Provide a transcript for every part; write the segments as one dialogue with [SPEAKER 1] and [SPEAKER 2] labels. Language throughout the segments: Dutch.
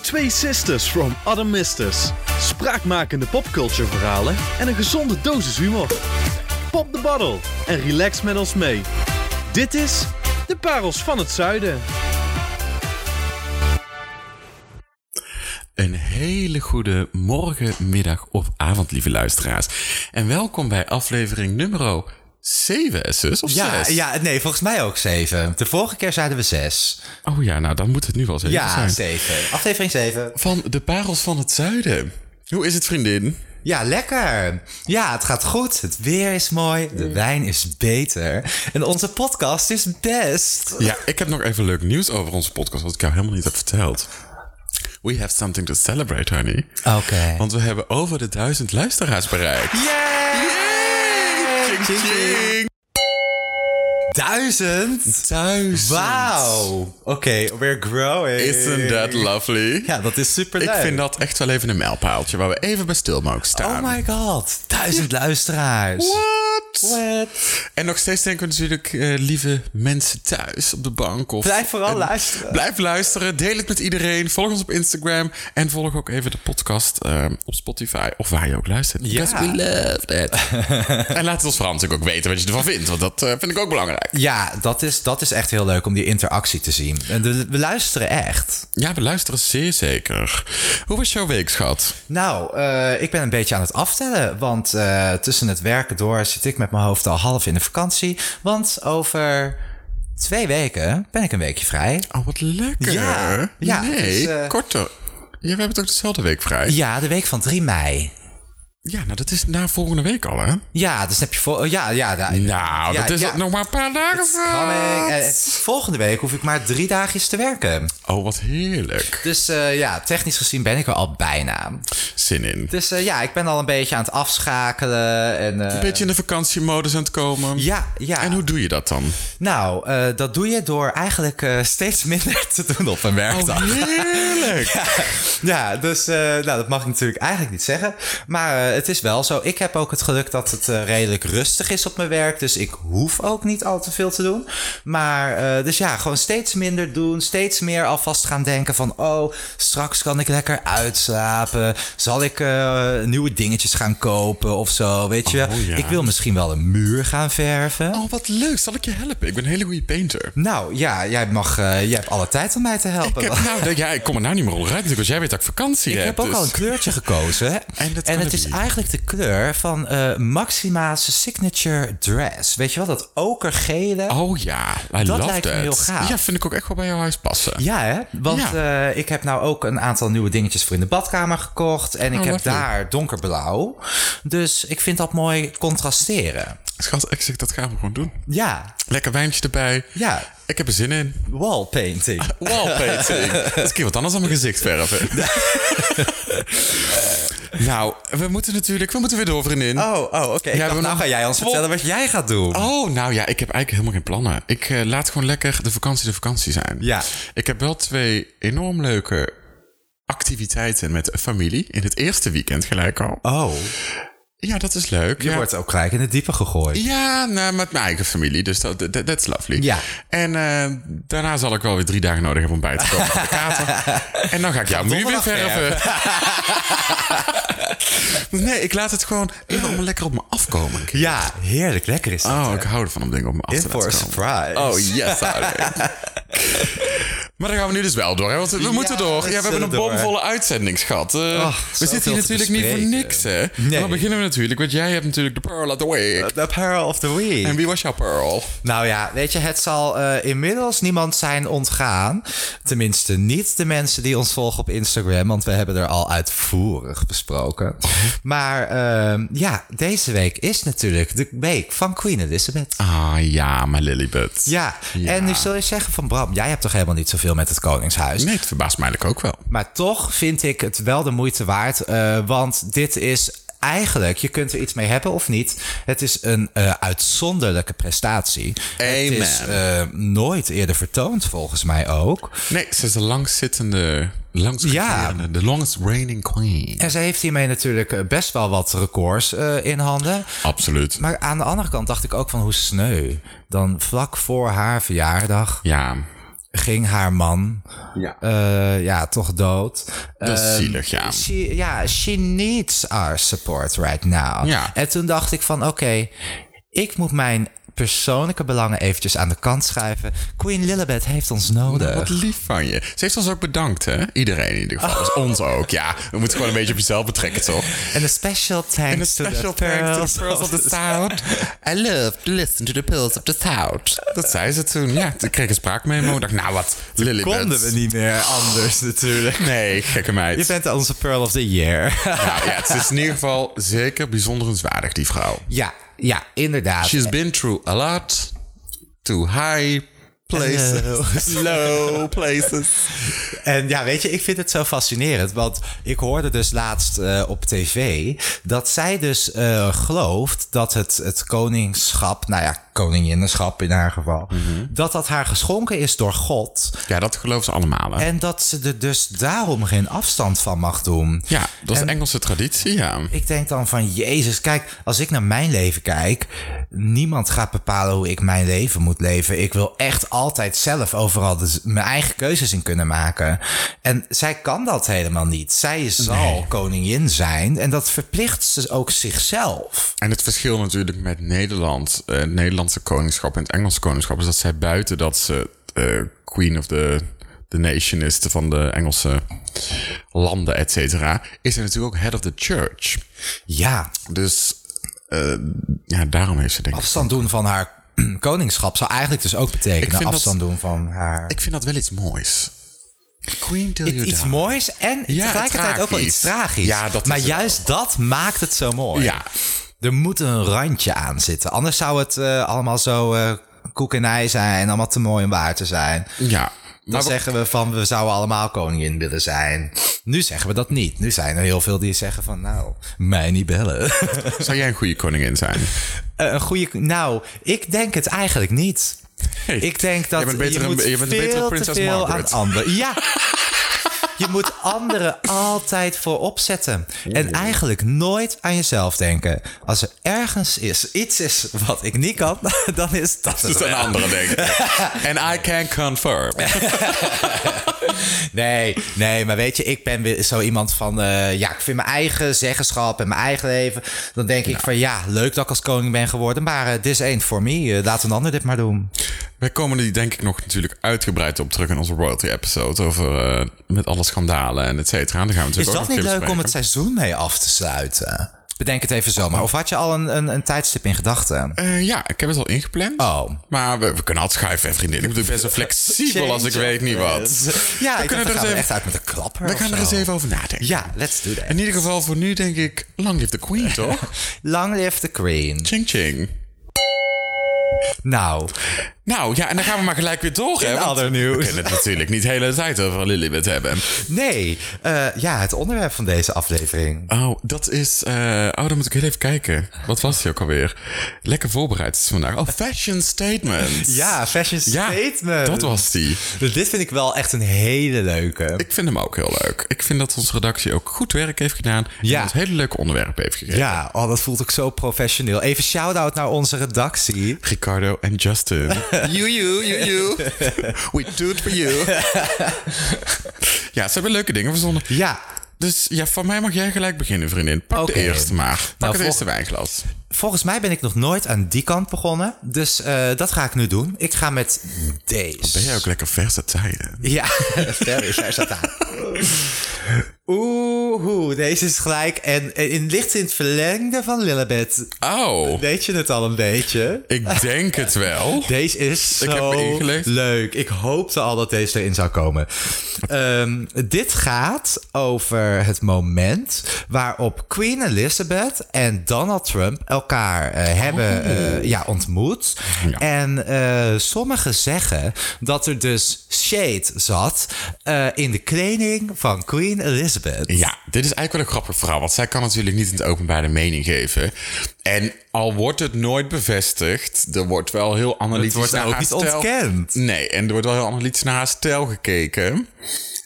[SPEAKER 1] Twee sisters from other misters. Spraakmakende popculture verhalen en een gezonde dosis humor. Pop de bottle en relax met ons mee. Dit is De Parels van het Zuiden.
[SPEAKER 2] Een hele goede morgen, middag of avond, lieve luisteraars. En welkom bij aflevering nummer 7, zus, of
[SPEAKER 3] Ja,
[SPEAKER 2] 6?
[SPEAKER 3] ja, nee, volgens mij ook zeven. De vorige keer zeiden we zes.
[SPEAKER 2] Oh ja, nou dan moet het nu wel 7
[SPEAKER 3] Ja,
[SPEAKER 2] zijn.
[SPEAKER 3] zeven. Aflevering zeven.
[SPEAKER 2] Van de parels van het zuiden. Hoe is het, vriendin?
[SPEAKER 3] Ja, lekker. Ja, het gaat goed. Het weer is mooi. De wijn is beter. En onze podcast is best.
[SPEAKER 2] Ja, ik heb nog even leuk nieuws over onze podcast, wat ik jou helemaal niet heb verteld. We have something to celebrate, honey.
[SPEAKER 3] Oké.
[SPEAKER 2] Want we hebben over de duizend luisteraars bereikt.
[SPEAKER 3] Yay!
[SPEAKER 2] Ching, ching.
[SPEAKER 3] Duizend.
[SPEAKER 2] Duizend.
[SPEAKER 3] Wauw. Oké, we're growing.
[SPEAKER 2] Isn't that lovely?
[SPEAKER 3] Ja, dat is super
[SPEAKER 2] Ik vind dat echt wel even een mijlpaaltje waar we even bij stil mogen staan.
[SPEAKER 3] Oh my god. Duizend luisteraars.
[SPEAKER 2] What?
[SPEAKER 3] What?
[SPEAKER 2] En nog steeds denken we natuurlijk, eh, lieve mensen thuis op de bank. Of,
[SPEAKER 3] Blijf vooral
[SPEAKER 2] en-
[SPEAKER 3] luisteren.
[SPEAKER 2] Blijf luisteren, deel het met iedereen. Volg ons op Instagram en volg ook even de podcast eh, op Spotify of waar je ook luistert.
[SPEAKER 3] Ja.
[SPEAKER 2] Because we love that. en laat het ons vooral natuurlijk ook weten wat je ervan vindt, want dat eh, vind ik ook belangrijk.
[SPEAKER 3] Ja, dat is, dat is echt heel leuk om die interactie te zien. En de- we luisteren echt.
[SPEAKER 2] Ja, we luisteren zeer zeker. Hoe was jouw week, schat?
[SPEAKER 3] Nou, eh, ik ben een beetje aan het aftellen. Want eh, tussen het werken door zit ik met mijn hoofd al half in de vakantie. Want over twee weken ben ik een weekje vrij.
[SPEAKER 2] Oh, wat lekker.
[SPEAKER 3] Ja, ja,
[SPEAKER 2] nee,
[SPEAKER 3] het is, eh,
[SPEAKER 2] korter. Ja, we hebben het ook dezelfde week vrij.
[SPEAKER 3] Ja, de week van 3 mei.
[SPEAKER 2] Ja, nou dat is na volgende week al, hè?
[SPEAKER 3] Ja, dus heb je voor. Ja, ja, daar-
[SPEAKER 2] Nou,
[SPEAKER 3] Ja,
[SPEAKER 2] dat is
[SPEAKER 3] ja.
[SPEAKER 2] nog maar een paar dagen
[SPEAKER 3] Coming. En
[SPEAKER 2] van.
[SPEAKER 3] eh, het- volgende week hoef ik maar drie dagjes te werken.
[SPEAKER 2] Oh, wat heerlijk.
[SPEAKER 3] Dus eh, ja, technisch gezien ben ik er al bijna.
[SPEAKER 2] Zin in. Een
[SPEAKER 3] Dus eh, ja, ik ben al een beetje aan het afschakelen. En, eh,
[SPEAKER 2] beetje in de vakantiemodus aan het komen.
[SPEAKER 3] Ja, ja.
[SPEAKER 2] En hoe doe je dat dan?
[SPEAKER 3] Nou, eh, dat doe je door eigenlijk eh, steeds minder te doen op een werkdag.
[SPEAKER 2] Oh, heerlijk.
[SPEAKER 3] Ja, dus eh, nou, dat mag ik natuurlijk eigenlijk niet zeggen. Maar eh, het is wel zo. Ik heb ook het geluk dat het eh, redelijk rustig is op mijn werk. Dus ik hoef ook niet al te veel te doen. Maar eh, dus ja, gewoon steeds minder doen. Steeds meer alvast gaan denken van... oh, straks kan ik lekker uitslapen. Zal ik eh, nieuwe dingetjes gaan kopen of zo? Weet je wel?
[SPEAKER 2] Oh, ja.
[SPEAKER 3] Ik wil misschien wel een muur gaan verven.
[SPEAKER 2] Oh, wat leuk. Zal ik je helpen? Ik ben een hele goede painter.
[SPEAKER 3] Nou ja, jij, mag, eh, jij hebt alle tijd om mij te helpen.
[SPEAKER 2] Ik heb, nou, dat- ja, ik kom er nou niet meer onderuit natuurlijk, want jij weet dat ik vakantie
[SPEAKER 3] Ik
[SPEAKER 2] heb.
[SPEAKER 3] heb ook
[SPEAKER 2] dus-
[SPEAKER 3] al een kleurtje gekozen.
[SPEAKER 2] En dat
[SPEAKER 3] en
[SPEAKER 2] kan
[SPEAKER 3] het
[SPEAKER 2] ik
[SPEAKER 3] is
[SPEAKER 2] niet.
[SPEAKER 3] eigenlijk de kleur van eh, Maxima's signature dress. Weet je wel, dat okergele.
[SPEAKER 2] Oh ja, I love
[SPEAKER 3] lijkt me
[SPEAKER 2] that.
[SPEAKER 3] heel gaaf.
[SPEAKER 2] Ja, vind ik ook echt wel bij jouw huis passen.
[SPEAKER 3] Ja, hè? Want
[SPEAKER 2] Ja.
[SPEAKER 3] eh, ik heb nou ook een aantal nieuwe dingetjes voor in de badkamer gekocht. En ik
[SPEAKER 2] Oh,
[SPEAKER 3] heb
[SPEAKER 2] lovely.
[SPEAKER 3] daar donkerblauw. Dus ik vind dat mooi contrasteren.
[SPEAKER 2] Schat, ik zeg, dat gaan we gewoon doen.
[SPEAKER 3] Ja,
[SPEAKER 2] Lekker wijntje erbij.
[SPEAKER 3] ja.
[SPEAKER 2] Ik heb er zin in.
[SPEAKER 3] Wallpainting.
[SPEAKER 2] Wallpainting. Dat is een keer wat anders dan mijn gezicht verven. nou, we moeten natuurlijk... We moeten weer door, vriendin.
[SPEAKER 3] Oh, oh oké. Ik dacht,
[SPEAKER 2] we
[SPEAKER 3] nou
[SPEAKER 2] nog-
[SPEAKER 3] ga jij ons
[SPEAKER 2] Vol-
[SPEAKER 3] vertellen wat jij gaat doen.
[SPEAKER 2] Oh, nou ja, ik heb eigenlijk helemaal geen plannen. Ik eh, laat gewoon lekker de vakantie de vakantie zijn.
[SPEAKER 3] Ja.
[SPEAKER 2] Ik heb wel twee enorm leuke activiteiten met de familie. In het eerste weekend gelijk al.
[SPEAKER 3] Oh,
[SPEAKER 2] Ja, dat is leuk.
[SPEAKER 3] je
[SPEAKER 2] ja.
[SPEAKER 3] wordt ook gelijk in het diepe gegooid.
[SPEAKER 2] Ja, nou, met mijn eigen familie. Dus dat dat- that's lovely.
[SPEAKER 3] Ja.
[SPEAKER 2] En eh, daarna zal ik wel weer drie dagen nodig hebben om bij te komen van de kater. En dan ga ik jouw muur weer
[SPEAKER 3] Donderdag
[SPEAKER 2] verven. Dus nee, ik laat het gewoon helemaal lekker op me afkomen.
[SPEAKER 3] Ja, heerlijk. Lekker is dat.
[SPEAKER 2] Oh, ik hou ervan om dingen op me af
[SPEAKER 3] In
[SPEAKER 2] te
[SPEAKER 3] for a
[SPEAKER 2] laten komen.
[SPEAKER 3] surprise.
[SPEAKER 2] Oh, yes, darling. Maar dan gaan we nu dus wel door, hè? want we moeten door.
[SPEAKER 3] we
[SPEAKER 2] Ja, we hebben een
[SPEAKER 3] zullen door.
[SPEAKER 2] bomvolle uitzending, schat. Eh, we
[SPEAKER 3] zoveel
[SPEAKER 2] zitten hier
[SPEAKER 3] te
[SPEAKER 2] natuurlijk niet voor
[SPEAKER 3] bespreken.
[SPEAKER 2] niks, hè?
[SPEAKER 3] Nee. Eh,
[SPEAKER 2] Dan beginnen we natuurlijk, want jij hebt natuurlijk de Pearl of the Week.
[SPEAKER 3] The Pearl of the Week.
[SPEAKER 2] En wie was jouw Pearl?
[SPEAKER 3] Nou ja, weet je, het zal eh, inmiddels niemand zijn ontgaan. Tenminste, niet de mensen die ons volgen op Instagram, want we hebben er al uitvoerig besproken. Maar ehm, ja, deze week is natuurlijk de week van Queen Elizabeth.
[SPEAKER 2] Ah ja, maar Lilibet.
[SPEAKER 3] Ja, en nu zul je zeggen van Bram, jij hebt toch helemaal niet zoveel met het Koningshuis?
[SPEAKER 2] Nee, het verbaast mij eigenlijk ook wel.
[SPEAKER 3] Maar toch vind ik het wel de moeite waard. eh, want dit is eigenlijk, je kunt er iets mee hebben of niet. Het is een eh, uitzonderlijke prestatie. Het
[SPEAKER 2] Amen.
[SPEAKER 3] is eh, nooit eerder vertoond, volgens mij ook.
[SPEAKER 2] Nee, ze is de langzittende, langsgegerende, de longest reigning queen.
[SPEAKER 3] En ze heeft hiermee natuurlijk eh, best wel wat records eh, in handen.
[SPEAKER 2] Absoluut.
[SPEAKER 3] Maar aan de andere kant dacht ik ook van hoe sneu. Dan vlak voor haar verjaardag
[SPEAKER 2] Ja,
[SPEAKER 3] ging haar man
[SPEAKER 2] Ja.
[SPEAKER 3] eh, ja, toch dood.
[SPEAKER 2] Dat is zielig, ja.
[SPEAKER 3] She, ja, she needs our support right now.
[SPEAKER 2] Ja.
[SPEAKER 3] En toen dacht ik van, oké, ik moet mijn persoonlijke belangen eventjes aan de kant schuiven. Queen Lilibet heeft ons
[SPEAKER 2] Wat
[SPEAKER 3] nodig.
[SPEAKER 2] lief van je. Ze heeft ons ook bedankt, hè? Iedereen in ieder
[SPEAKER 3] Oh.
[SPEAKER 2] geval. Dus ons ook, ja. We moeten gewoon een beetje op jezelf betrekken, toch?
[SPEAKER 3] En een special
[SPEAKER 2] En een
[SPEAKER 3] thanks to
[SPEAKER 2] special
[SPEAKER 3] the
[SPEAKER 2] thanks to
[SPEAKER 3] pearls
[SPEAKER 2] the Pearls of the South. I love to listen to the Pearls of the South. Dat zei ze toen, ja. Toen kreeg ik een spraakmemo. Ik dacht, nou wat, Lilibet.
[SPEAKER 3] Konden we niet meer anders natuurlijk.
[SPEAKER 2] Nee, gekke meid.
[SPEAKER 3] Je bent onze Pearl of the Year.
[SPEAKER 2] Nou, ja, het is in ieder geval zeker bijzonderenswaardig, die vrouw.
[SPEAKER 3] ja, ja, inderdaad.
[SPEAKER 2] She's been through a lot. To high places. Low places.
[SPEAKER 3] En ja, weet je, ik vind het zo fascinerend. Want ik hoorde dus laatst eh, op tv dat zij dus eh, gelooft dat het, het koningschap, nou ja, koninginnenschap in haar geval, dat dat haar geschonken is door God.
[SPEAKER 2] Ja, dat geloven ze allemaal, hè?
[SPEAKER 3] En dat ze er dus daarom geen afstand van mag doen.
[SPEAKER 2] Ja, dat is de Engelse traditie, ja.
[SPEAKER 3] Ik denk dan van, Jezus, kijk, als ik naar mijn leven kijk, niemand gaat bepalen hoe ik mijn leven moet leven. Ik wil echt altijd zelf overal de- mijn eigen keuzes in kunnen maken. En zij kan dat helemaal niet. Zij zal koningin zijn en dat verplicht ze ook zichzelf.
[SPEAKER 2] En het verschil natuurlijk met Nederland, eh, het Nederlandse koningschap en het Engelse koningschap, is dat zij buiten dat ze eh, queen of the, the nation is de- van de Engelse landen, et cetera, is zij natuurlijk ook head of the church.
[SPEAKER 3] Ja,
[SPEAKER 2] Dus eh, ja, daarom heeft ze denk ik...
[SPEAKER 3] afstand doen van haar koningschap zou eigenlijk dus ook
[SPEAKER 2] Ik
[SPEAKER 3] betekenen
[SPEAKER 2] vind
[SPEAKER 3] afstand doen van haar...
[SPEAKER 2] Ik vind dat wel iets moois. Queen till you
[SPEAKER 3] Iets
[SPEAKER 2] die.
[SPEAKER 3] moois en
[SPEAKER 2] Ja,
[SPEAKER 3] tegelijkertijd ook wel iets
[SPEAKER 2] tragisch.
[SPEAKER 3] tragisch.
[SPEAKER 2] Ja, dat is
[SPEAKER 3] maar
[SPEAKER 2] het
[SPEAKER 3] juist dat maakt het zo mooi.
[SPEAKER 2] Ja,
[SPEAKER 3] Er moet een randje aan zitten. Anders zou het eh, allemaal zo eh koek en ei zijn. En allemaal te mooi om waar te zijn.
[SPEAKER 2] ja.
[SPEAKER 3] Dan
[SPEAKER 2] Maar wa-
[SPEAKER 3] zeggen we van we zouden allemaal koningin willen zijn. Nu zeggen we dat niet. Nu zijn er heel veel die zeggen van nou, mij niet bellen.
[SPEAKER 2] zou jij een goede koningin zijn?
[SPEAKER 3] Eh, een goede. Nou, ik denk het eigenlijk niet.
[SPEAKER 2] Hey,
[SPEAKER 3] ik denk dat
[SPEAKER 2] jij bent beter
[SPEAKER 3] je
[SPEAKER 2] een-
[SPEAKER 3] moet
[SPEAKER 2] je bent een
[SPEAKER 3] veel
[SPEAKER 2] betere
[SPEAKER 3] te
[SPEAKER 2] prinses
[SPEAKER 3] veel
[SPEAKER 2] Margaret.
[SPEAKER 3] aan anderen. Ja. Je moet anderen altijd voorop zetten. En eigenlijk nooit aan jezelf denken. Als er ergens is, iets is wat ik niet kan, dan is dat
[SPEAKER 2] Dat
[SPEAKER 3] het.
[SPEAKER 2] is een andere ding. En I can confirm.
[SPEAKER 3] Nee, nee, maar weet je, ik ben weer zo iemand van... eh, ja, ik vind mijn eigen zeggenschap en mijn eigen leven... Dan denk
[SPEAKER 2] Nou.
[SPEAKER 3] ik van ja, leuk dat ik als koning ben geworden... maar eh, this ain't for me. Eh, laat een ander dit maar doen.
[SPEAKER 2] Wij komen die denk ik nog natuurlijk uitgebreid op terug in onze royalty episode over eh, met alle schandalen en et cetera. Dan gaan we natuurlijk
[SPEAKER 3] Is
[SPEAKER 2] ook nog
[SPEAKER 3] dat niet
[SPEAKER 2] een keer
[SPEAKER 3] leuk om het
[SPEAKER 2] bespreken.
[SPEAKER 3] seizoen mee af te sluiten? Bedenk het even zomaar. Of had je al een, een, een tijdstip in gedachten?
[SPEAKER 2] Eh, ja, ik heb het al ingepland.
[SPEAKER 3] Oh.
[SPEAKER 2] Maar we, we kunnen altijd schuiven, hè, vriendin. Ik bedoel, ik ben zo flexibel als ik weet niet wat.
[SPEAKER 3] Ja, ik
[SPEAKER 2] kunnen
[SPEAKER 3] dacht,
[SPEAKER 2] er eens even-
[SPEAKER 3] dan gaan we echt uit met een klapper.
[SPEAKER 2] We
[SPEAKER 3] of
[SPEAKER 2] gaan er
[SPEAKER 3] zo.
[SPEAKER 2] eens even over nadenken.
[SPEAKER 3] Ja, let's do that.
[SPEAKER 2] In ieder geval voor nu denk ik, lang live the queen, toch?
[SPEAKER 3] Long live the queen.
[SPEAKER 2] ching ching.
[SPEAKER 3] Nou,
[SPEAKER 2] Nou ja, en dan gaan we maar gelijk weer door. hè,
[SPEAKER 3] In
[SPEAKER 2] want
[SPEAKER 3] other news.
[SPEAKER 2] We kunnen het natuurlijk niet de hele tijd over Lilibet hebben.
[SPEAKER 3] nee. eh, ja, het onderwerp van deze aflevering.
[SPEAKER 2] Oh, dat is. eh, oh, dan moet ik heel even kijken. Wat was die ook alweer? Lekker voorbereid is vandaag. Oh, fashion statements.
[SPEAKER 3] Ja, fashion
[SPEAKER 2] Ja,
[SPEAKER 3] statement. Dus
[SPEAKER 2] dat was die.
[SPEAKER 3] Dit vind ik wel echt een hele leuke.
[SPEAKER 2] Ik vind hem ook heel leuk. Ik vind dat onze redactie ook goed werk heeft gedaan.
[SPEAKER 3] Ja.
[SPEAKER 2] En ons hele leuke onderwerp heeft gegeven.
[SPEAKER 3] Ja, oh, dat voelt ook zo professioneel. Even shout-out naar onze redactie.
[SPEAKER 2] Ricardo en Justin. you, you, you, you. We do it for you. ja, ze hebben leuke dingen verzonnen.
[SPEAKER 3] Ja,
[SPEAKER 2] Dus ja, van mij mag jij gelijk beginnen, vriendin. Pak
[SPEAKER 3] Oké.
[SPEAKER 2] de eerste maar. Pak
[SPEAKER 3] Nou,
[SPEAKER 2] het
[SPEAKER 3] vol-
[SPEAKER 2] eerste wijnglas.
[SPEAKER 3] Volgens mij ben ik nog nooit aan die kant begonnen. Dus eh, dat ga ik nu doen. Ik ga met deze.
[SPEAKER 2] Ben jij ook lekker versatile?
[SPEAKER 3] Ja, sorry, daar staat aan. Oeh, deze is gelijk. En, en in ligt in het verlengde van Lilibet.
[SPEAKER 2] Oh,
[SPEAKER 3] Weet je het al een beetje?
[SPEAKER 2] ik denk het wel.
[SPEAKER 3] Deze is
[SPEAKER 2] Ik heb
[SPEAKER 3] zo
[SPEAKER 2] me ingelezen.
[SPEAKER 3] leuk. Ik hoopte al dat deze erin zou komen. Ehm, dit gaat over het moment waarop Queen Elizabeth en Donald Trump elkaar eh, hebben eh, ja, ontmoet.
[SPEAKER 2] Oh. Ja.
[SPEAKER 3] En eh, sommigen zeggen dat er dus shade zat eh, in de kleding van Queen Elizabeth.
[SPEAKER 2] Ja, dit is eigenlijk wel een grappig verhaal. Want zij kan natuurlijk niet in het openbaar de mening geven. En al wordt het nooit bevestigd, er wordt wel heel analytisch
[SPEAKER 3] wordt
[SPEAKER 2] naar
[SPEAKER 3] ook
[SPEAKER 2] haar
[SPEAKER 3] niet
[SPEAKER 2] stijl-
[SPEAKER 3] ontkend.
[SPEAKER 2] Nee, en er wordt wel heel analytisch naar haar stijl gekeken.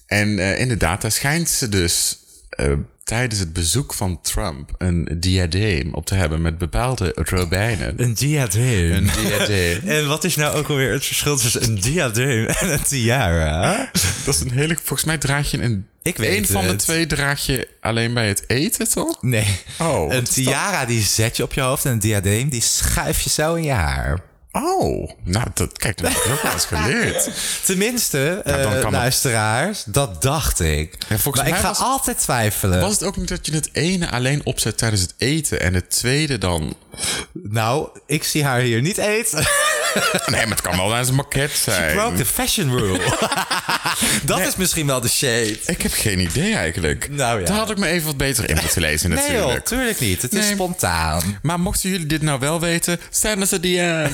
[SPEAKER 2] En eh, inderdaad, daar schijnt ze dus eh, tijdens het bezoek van Trump een diadeem op te hebben met bepaalde robijnen.
[SPEAKER 3] Een diadeem.
[SPEAKER 2] Een diadeem.
[SPEAKER 3] En wat is nou ook alweer het verschil tussen een diadeem en een tiara?
[SPEAKER 2] Dat is een hele. Volgens mij draag je een.
[SPEAKER 3] Ik weet
[SPEAKER 2] Eén van de
[SPEAKER 3] het.
[SPEAKER 2] twee draag je alleen bij het eten, toch?
[SPEAKER 3] Nee.
[SPEAKER 2] Oh, wat
[SPEAKER 3] een
[SPEAKER 2] is dat?
[SPEAKER 3] tiara die zet je op je hoofd en een diadeem die schuif je zo in je haar.
[SPEAKER 2] Oh, nou, dat, kijk, dat heb ik ook wel eens geleerd.
[SPEAKER 3] Tenminste,
[SPEAKER 2] dan kan
[SPEAKER 3] eh,
[SPEAKER 2] het.
[SPEAKER 3] luisteraars, dat dacht ik.
[SPEAKER 2] Ja, volgens
[SPEAKER 3] maar ik
[SPEAKER 2] mij
[SPEAKER 3] ga
[SPEAKER 2] was-
[SPEAKER 3] altijd twijfelen.
[SPEAKER 2] Was het ook niet dat je het ene alleen opzet tijdens het eten en het tweede dan...
[SPEAKER 3] Nou, ik zie haar hier niet eten.
[SPEAKER 2] Nee, maar het kan wel tijdens een maquette
[SPEAKER 3] Broke
[SPEAKER 2] zijn.
[SPEAKER 3] the fashion rule. dat is misschien wel de shade.
[SPEAKER 2] Ik heb geen idee eigenlijk.
[SPEAKER 3] Nou ja.
[SPEAKER 2] Daar had ik me even wat beter in moeten lezen
[SPEAKER 3] Nee joh,
[SPEAKER 2] natuurlijk.
[SPEAKER 3] tuurlijk niet. Het is
[SPEAKER 2] Nee.
[SPEAKER 3] spontaan.
[SPEAKER 2] maar mochten jullie dit nou wel weten, send us a DM.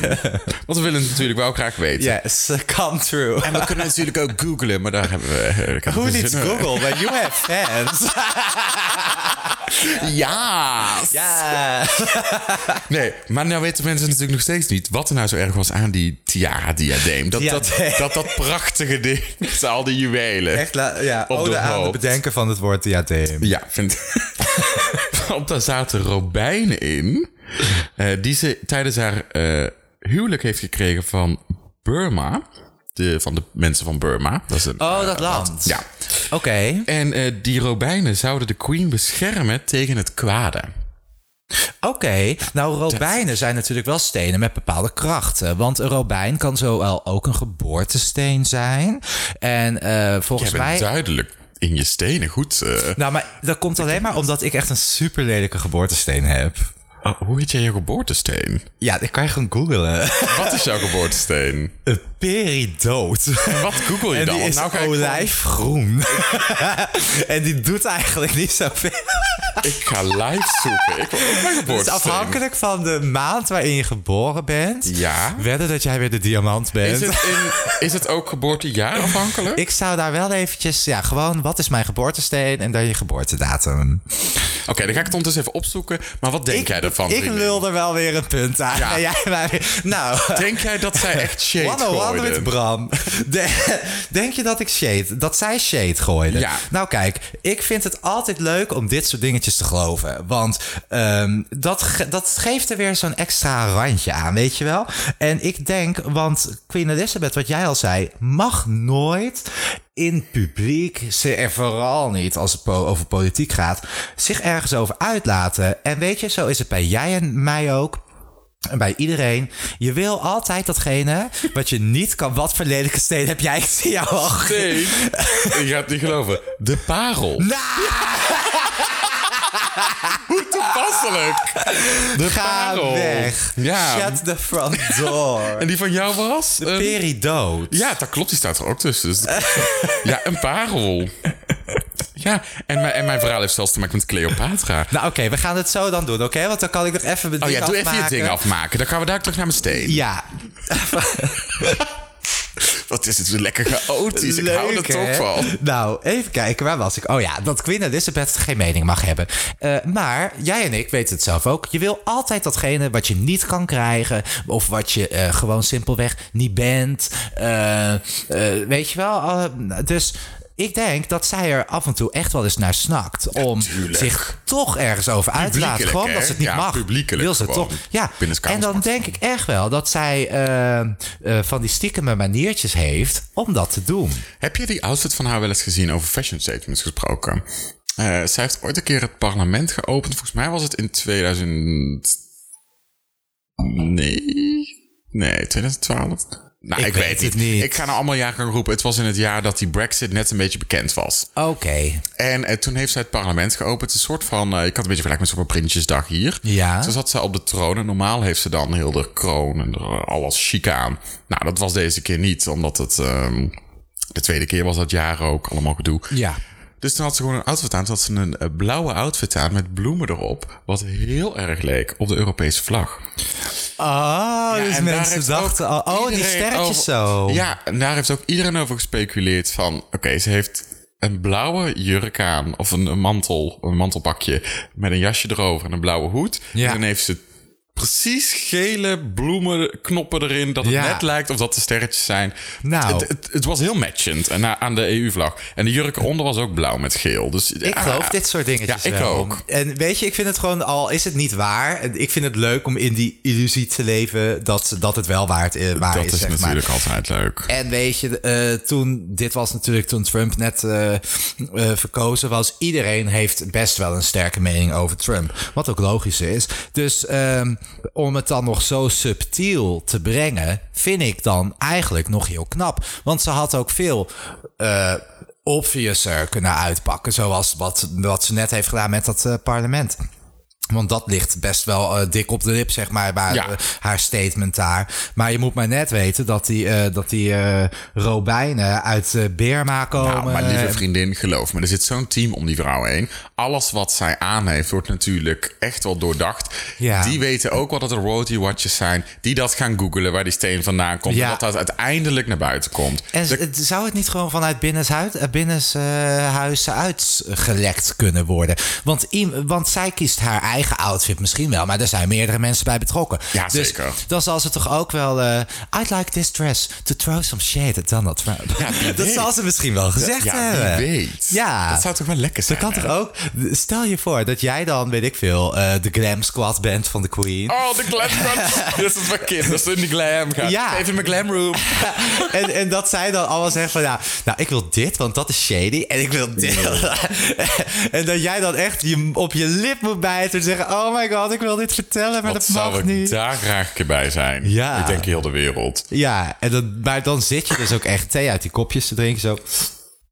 [SPEAKER 2] Want we willen het natuurlijk wel graag weten.
[SPEAKER 3] Yes, come true.
[SPEAKER 2] En we kunnen natuurlijk ook googlen, maar daar hebben we... ik heb
[SPEAKER 3] Who
[SPEAKER 2] geen
[SPEAKER 3] needs
[SPEAKER 2] zin in.
[SPEAKER 3] Google when you have fans?
[SPEAKER 2] Ja!
[SPEAKER 3] ja.
[SPEAKER 2] Nee, maar nou weten mensen natuurlijk nog steeds niet wat er nou zo erg was aan die tiara-diadeem. Dat, dat,
[SPEAKER 3] Diadeem.
[SPEAKER 2] dat, dat prachtige ding met al die juwelen.
[SPEAKER 3] Echt, la- ja,
[SPEAKER 2] Op
[SPEAKER 3] ode
[SPEAKER 2] de
[SPEAKER 3] aan het
[SPEAKER 2] hoofd.
[SPEAKER 3] bedenken van het woord diadeem.
[SPEAKER 2] Ja, vind Want daar zaten robijnen in, eh, die ze tijdens haar eh, huwelijk heeft gekregen van Burma. De, van de mensen van Burma. Dat is een,
[SPEAKER 3] Oh, dat land.
[SPEAKER 2] ja.
[SPEAKER 3] Oké.
[SPEAKER 2] En eh, die robijnen zouden de queen beschermen tegen het kwade.
[SPEAKER 3] Oké, nou robijnen zijn natuurlijk wel stenen met bepaalde krachten. Want een robijn kan zowel ook een geboortesteen zijn. En eh,
[SPEAKER 2] Jij
[SPEAKER 3] volgens
[SPEAKER 2] bent
[SPEAKER 3] mij...
[SPEAKER 2] duidelijk in je stenen goed. eh.
[SPEAKER 3] Nou, maar dat komt alleen maar omdat ik echt een super lelijke geboortesteen heb.
[SPEAKER 2] Oh, hoe heet jij je geboortesteen?
[SPEAKER 3] Ja, dat kan je gewoon googlen.
[SPEAKER 2] Wat is jouw geboortesteen?
[SPEAKER 3] Een peridood.
[SPEAKER 2] Wat google je
[SPEAKER 3] En
[SPEAKER 2] dan?
[SPEAKER 3] die
[SPEAKER 2] Want
[SPEAKER 3] is
[SPEAKER 2] nou ga ik gewoon-
[SPEAKER 3] olijfgroen. en die doet eigenlijk niet zoveel.
[SPEAKER 2] Ik ga live zoeken. Ik wil ook mijn geboortesteen.
[SPEAKER 3] Het is afhankelijk van de maand waarin je geboren bent.
[SPEAKER 2] Ja.
[SPEAKER 3] Wedden dat jij weer de diamant
[SPEAKER 2] Is
[SPEAKER 3] bent.
[SPEAKER 2] het, in, is het ook geboortejaar afhankelijk?
[SPEAKER 3] Ik zou daar wel eventjes, ja, gewoon wat is mijn geboortesteen en dan je geboortedatum.
[SPEAKER 2] Oké, dan ga ik het ondertussen even opzoeken. Maar wat denk jij ervan?
[SPEAKER 3] Ik
[SPEAKER 2] vriendin?
[SPEAKER 3] lul er wel weer een punt aan.
[SPEAKER 2] Ja.
[SPEAKER 3] En jij maar weer- nou,
[SPEAKER 2] Denk jij dat zij echt shade
[SPEAKER 3] one-on-one
[SPEAKER 2] gooiden?
[SPEAKER 3] met Bram. De- denk je dat ik shade, dat zij shade gooide?
[SPEAKER 2] Ja.
[SPEAKER 3] Nou kijk, ik vind het altijd leuk om dit soort dingetjes te geloven. Want ehm, dat, ge- dat geeft er weer zo'n extra randje aan, weet je wel? En ik denk, want Queen Elizabeth, wat jij al zei, mag nooit in publiek, ze- en vooral niet als het po- over politiek gaat, zich ergens over uitlaten. En weet je, zo is het bij jij en mij ook. En bij iedereen. Je wil altijd datgene wat je niet kan. Wat voor lelijke steen heb jij? Ik zie jou al.
[SPEAKER 2] Nee, je gaat het niet geloven. De parel.
[SPEAKER 3] Nou,
[SPEAKER 2] Toepasselijk. De
[SPEAKER 3] ga
[SPEAKER 2] parel.
[SPEAKER 3] weg.
[SPEAKER 2] Ja. Ehm.
[SPEAKER 3] Shut the front door.
[SPEAKER 2] En die van jou was? een-
[SPEAKER 3] Peridood.
[SPEAKER 2] Ja, dat klopt. Die staat er ook tussen. Dus- ja, een parel. Ja, en mijn, en mijn verhaal heeft zelfs te maken met Cleopatra.
[SPEAKER 3] Nou, oké, we gaan het zo dan doen, oké? Want dan kan ik nog even mijn
[SPEAKER 2] Oh
[SPEAKER 3] ding
[SPEAKER 2] ja, doe even je
[SPEAKER 3] afmaken.
[SPEAKER 2] ding afmaken. Dan gaan we daar terug naar mijn steen.
[SPEAKER 3] Ja,
[SPEAKER 2] Wat is het weer lekker chaotisch.
[SPEAKER 3] Leuk,
[SPEAKER 2] ik hou er toch
[SPEAKER 3] hè?
[SPEAKER 2] van.
[SPEAKER 3] Nou, even kijken, waar was ik? Oh ja, dat Queen Elizabeth geen mening mag hebben. Eh, maar jij en ik weten het zelf ook. Je wil altijd datgene wat je niet kan krijgen. Of wat je eh, gewoon simpelweg niet bent. Eh, eh, weet je wel? eh, dus. Ik denk dat zij er af en toe echt wel eens naar snakt. Om
[SPEAKER 2] tuurlijk.
[SPEAKER 3] zich toch ergens over uit te laten.
[SPEAKER 2] Publiekelijk,
[SPEAKER 3] Gewoon
[SPEAKER 2] hè?
[SPEAKER 3] dat ze het niet
[SPEAKER 2] Ja,
[SPEAKER 3] mag.
[SPEAKER 2] publiekelijk
[SPEAKER 3] Wil ze het
[SPEAKER 2] gewoon.
[SPEAKER 3] toch? Ja.
[SPEAKER 2] Binnen het
[SPEAKER 3] En dan
[SPEAKER 2] kamerspark.
[SPEAKER 3] denk ik echt wel dat zij eh, eh, van die stiekeme maniertjes heeft om dat te doen.
[SPEAKER 2] Heb je die outfit van haar wel eens gezien over fashion statements gesproken? Eh, zij heeft ooit een keer het parlement geopend. Volgens mij was het in 2000. Nee? Nee, 2012? Nou,
[SPEAKER 3] Ik
[SPEAKER 2] ik, weet,
[SPEAKER 3] weet
[SPEAKER 2] niet.
[SPEAKER 3] het niet.
[SPEAKER 2] Ik ga nou allemaal jaren gaan roepen. Het was in het jaar dat die Brexit net een beetje bekend was.
[SPEAKER 3] Oké.
[SPEAKER 2] En eh, toen heeft zij het parlement geopend. Een soort van. eh, ik had een beetje vergelijk met zo'n Prinsjesdag hier.
[SPEAKER 3] Ja.
[SPEAKER 2] Toen zat zij op de troon. En normaal heeft ze dan heel de kroon en er, eh, alles chic aan. Nou, dat was deze keer niet. Omdat het. ehm, de tweede keer was dat jaar ook. Allemaal gedoe.
[SPEAKER 3] Ja.
[SPEAKER 2] Dus toen had ze gewoon een outfit aan. Toen had ze een eh, blauwe outfit aan met bloemen erop. Wat heel erg leek op de Europese vlag.
[SPEAKER 3] Oh,
[SPEAKER 2] Ja,
[SPEAKER 3] dus
[SPEAKER 2] en daar
[SPEAKER 3] mensen
[SPEAKER 2] heeft
[SPEAKER 3] dachten al,
[SPEAKER 2] ook
[SPEAKER 3] oh, die
[SPEAKER 2] iedereen
[SPEAKER 3] sterretjes
[SPEAKER 2] over-
[SPEAKER 3] zo.
[SPEAKER 2] Ja, en daar heeft ook iedereen over gespeculeerd van... Oké, ze heeft een blauwe jurk aan of een, een mantel, een mantelpakje... met een jasje erover en een blauwe hoed.
[SPEAKER 3] Ja.
[SPEAKER 2] En dan heeft ze precies gele bloemen, knoppen erin. Dat het
[SPEAKER 3] Ja.
[SPEAKER 2] net lijkt of dat de sterretjes zijn.
[SPEAKER 3] Nou.
[SPEAKER 2] Het, het, het was heel matchend en, na- aan de EU-vlag. En de jurk onder was ook blauw met geel. Dus,
[SPEAKER 3] Ik geloof dit soort dingetjes
[SPEAKER 2] Ja, ik
[SPEAKER 3] wel.
[SPEAKER 2] ook.
[SPEAKER 3] En weet je, ik vind het gewoon, al is het niet waar... en ik vind het leuk om in die illusie te leven dat, dat het wel waard, eh, waar
[SPEAKER 2] Dat
[SPEAKER 3] is,
[SPEAKER 2] is
[SPEAKER 3] zeg maar.
[SPEAKER 2] natuurlijk altijd leuk.
[SPEAKER 3] En weet je, eh, toen, dit was natuurlijk toen Trump net eh, eh, verkozen was. Iedereen heeft best wel een sterke mening over Trump. Wat ook logisch is. Dus ehm, om het dan nog zo subtiel te brengen, vind ik dan eigenlijk nog heel knap. Want ze had ook veel. eh obviouser kunnen uitpakken. Zoals wat, wat ze net heeft gedaan met dat eh, parlement. Want dat ligt best wel eh, dik op de lip, zeg maar, waar,
[SPEAKER 2] Ja.
[SPEAKER 3] eh, haar statement daar. Maar je moet maar net weten dat die, eh, dat die eh, Robijnen uit eh, Birma komen.
[SPEAKER 2] Nou, maar lieve
[SPEAKER 3] Eh,
[SPEAKER 2] vriendin, geloof me, er zit zo'n team om die vrouw heen. Alles wat zij aan heeft, wordt natuurlijk echt wel doordacht.
[SPEAKER 3] Ja.
[SPEAKER 2] Die weten ook wel dat er royalty watches zijn, die dat gaan googelen waar die steen vandaan komt.
[SPEAKER 3] Ja.
[SPEAKER 2] En dat dat uiteindelijk naar buiten komt.
[SPEAKER 3] en
[SPEAKER 2] De-
[SPEAKER 3] z- het- zou het niet gewoon vanuit binnenshuizen binnens, eh, huizen uitgelekt kunnen worden? Want, i- want zij kiest haar eigen outfit misschien wel, maar er zijn meerdere mensen bij betrokken.
[SPEAKER 2] Ja,
[SPEAKER 3] dus
[SPEAKER 2] zeker.
[SPEAKER 3] Dan zal ze toch ook wel... eh, I'd like this dress to throw some shade at Donald Trump. dat
[SPEAKER 2] weet.
[SPEAKER 3] zal ze misschien wel gezegd hebben.
[SPEAKER 2] ja, wie weet.
[SPEAKER 3] Ja.
[SPEAKER 2] Dat zou toch wel lekker zijn.
[SPEAKER 3] Kan
[SPEAKER 2] hè?
[SPEAKER 3] toch ook? Stel je voor dat jij dan, weet ik veel, eh, de glam squad bent van de Queen.
[SPEAKER 2] Oh, de glam room. Dit is voor kinderen, dat ze in de glam gaan.
[SPEAKER 3] Ja.
[SPEAKER 2] Even mijn glam room.
[SPEAKER 3] en, en dat zij dan allemaal zegt van, ja, nou, ik wil dit, want dat is shady. En ik wil dit. en dat jij dan echt je, op je lip moet bijten en zeggen, oh my god, ik wil dit vertellen,
[SPEAKER 2] Wat
[SPEAKER 3] maar dat
[SPEAKER 2] zou
[SPEAKER 3] mag
[SPEAKER 2] ik
[SPEAKER 3] niet.
[SPEAKER 2] daar graag een keer bij zijn?
[SPEAKER 3] Ja.
[SPEAKER 2] Ik denk heel de wereld.
[SPEAKER 3] Ja, en dan, maar dan zit je dus ook echt thee uit die kopjes te drinken. Zo.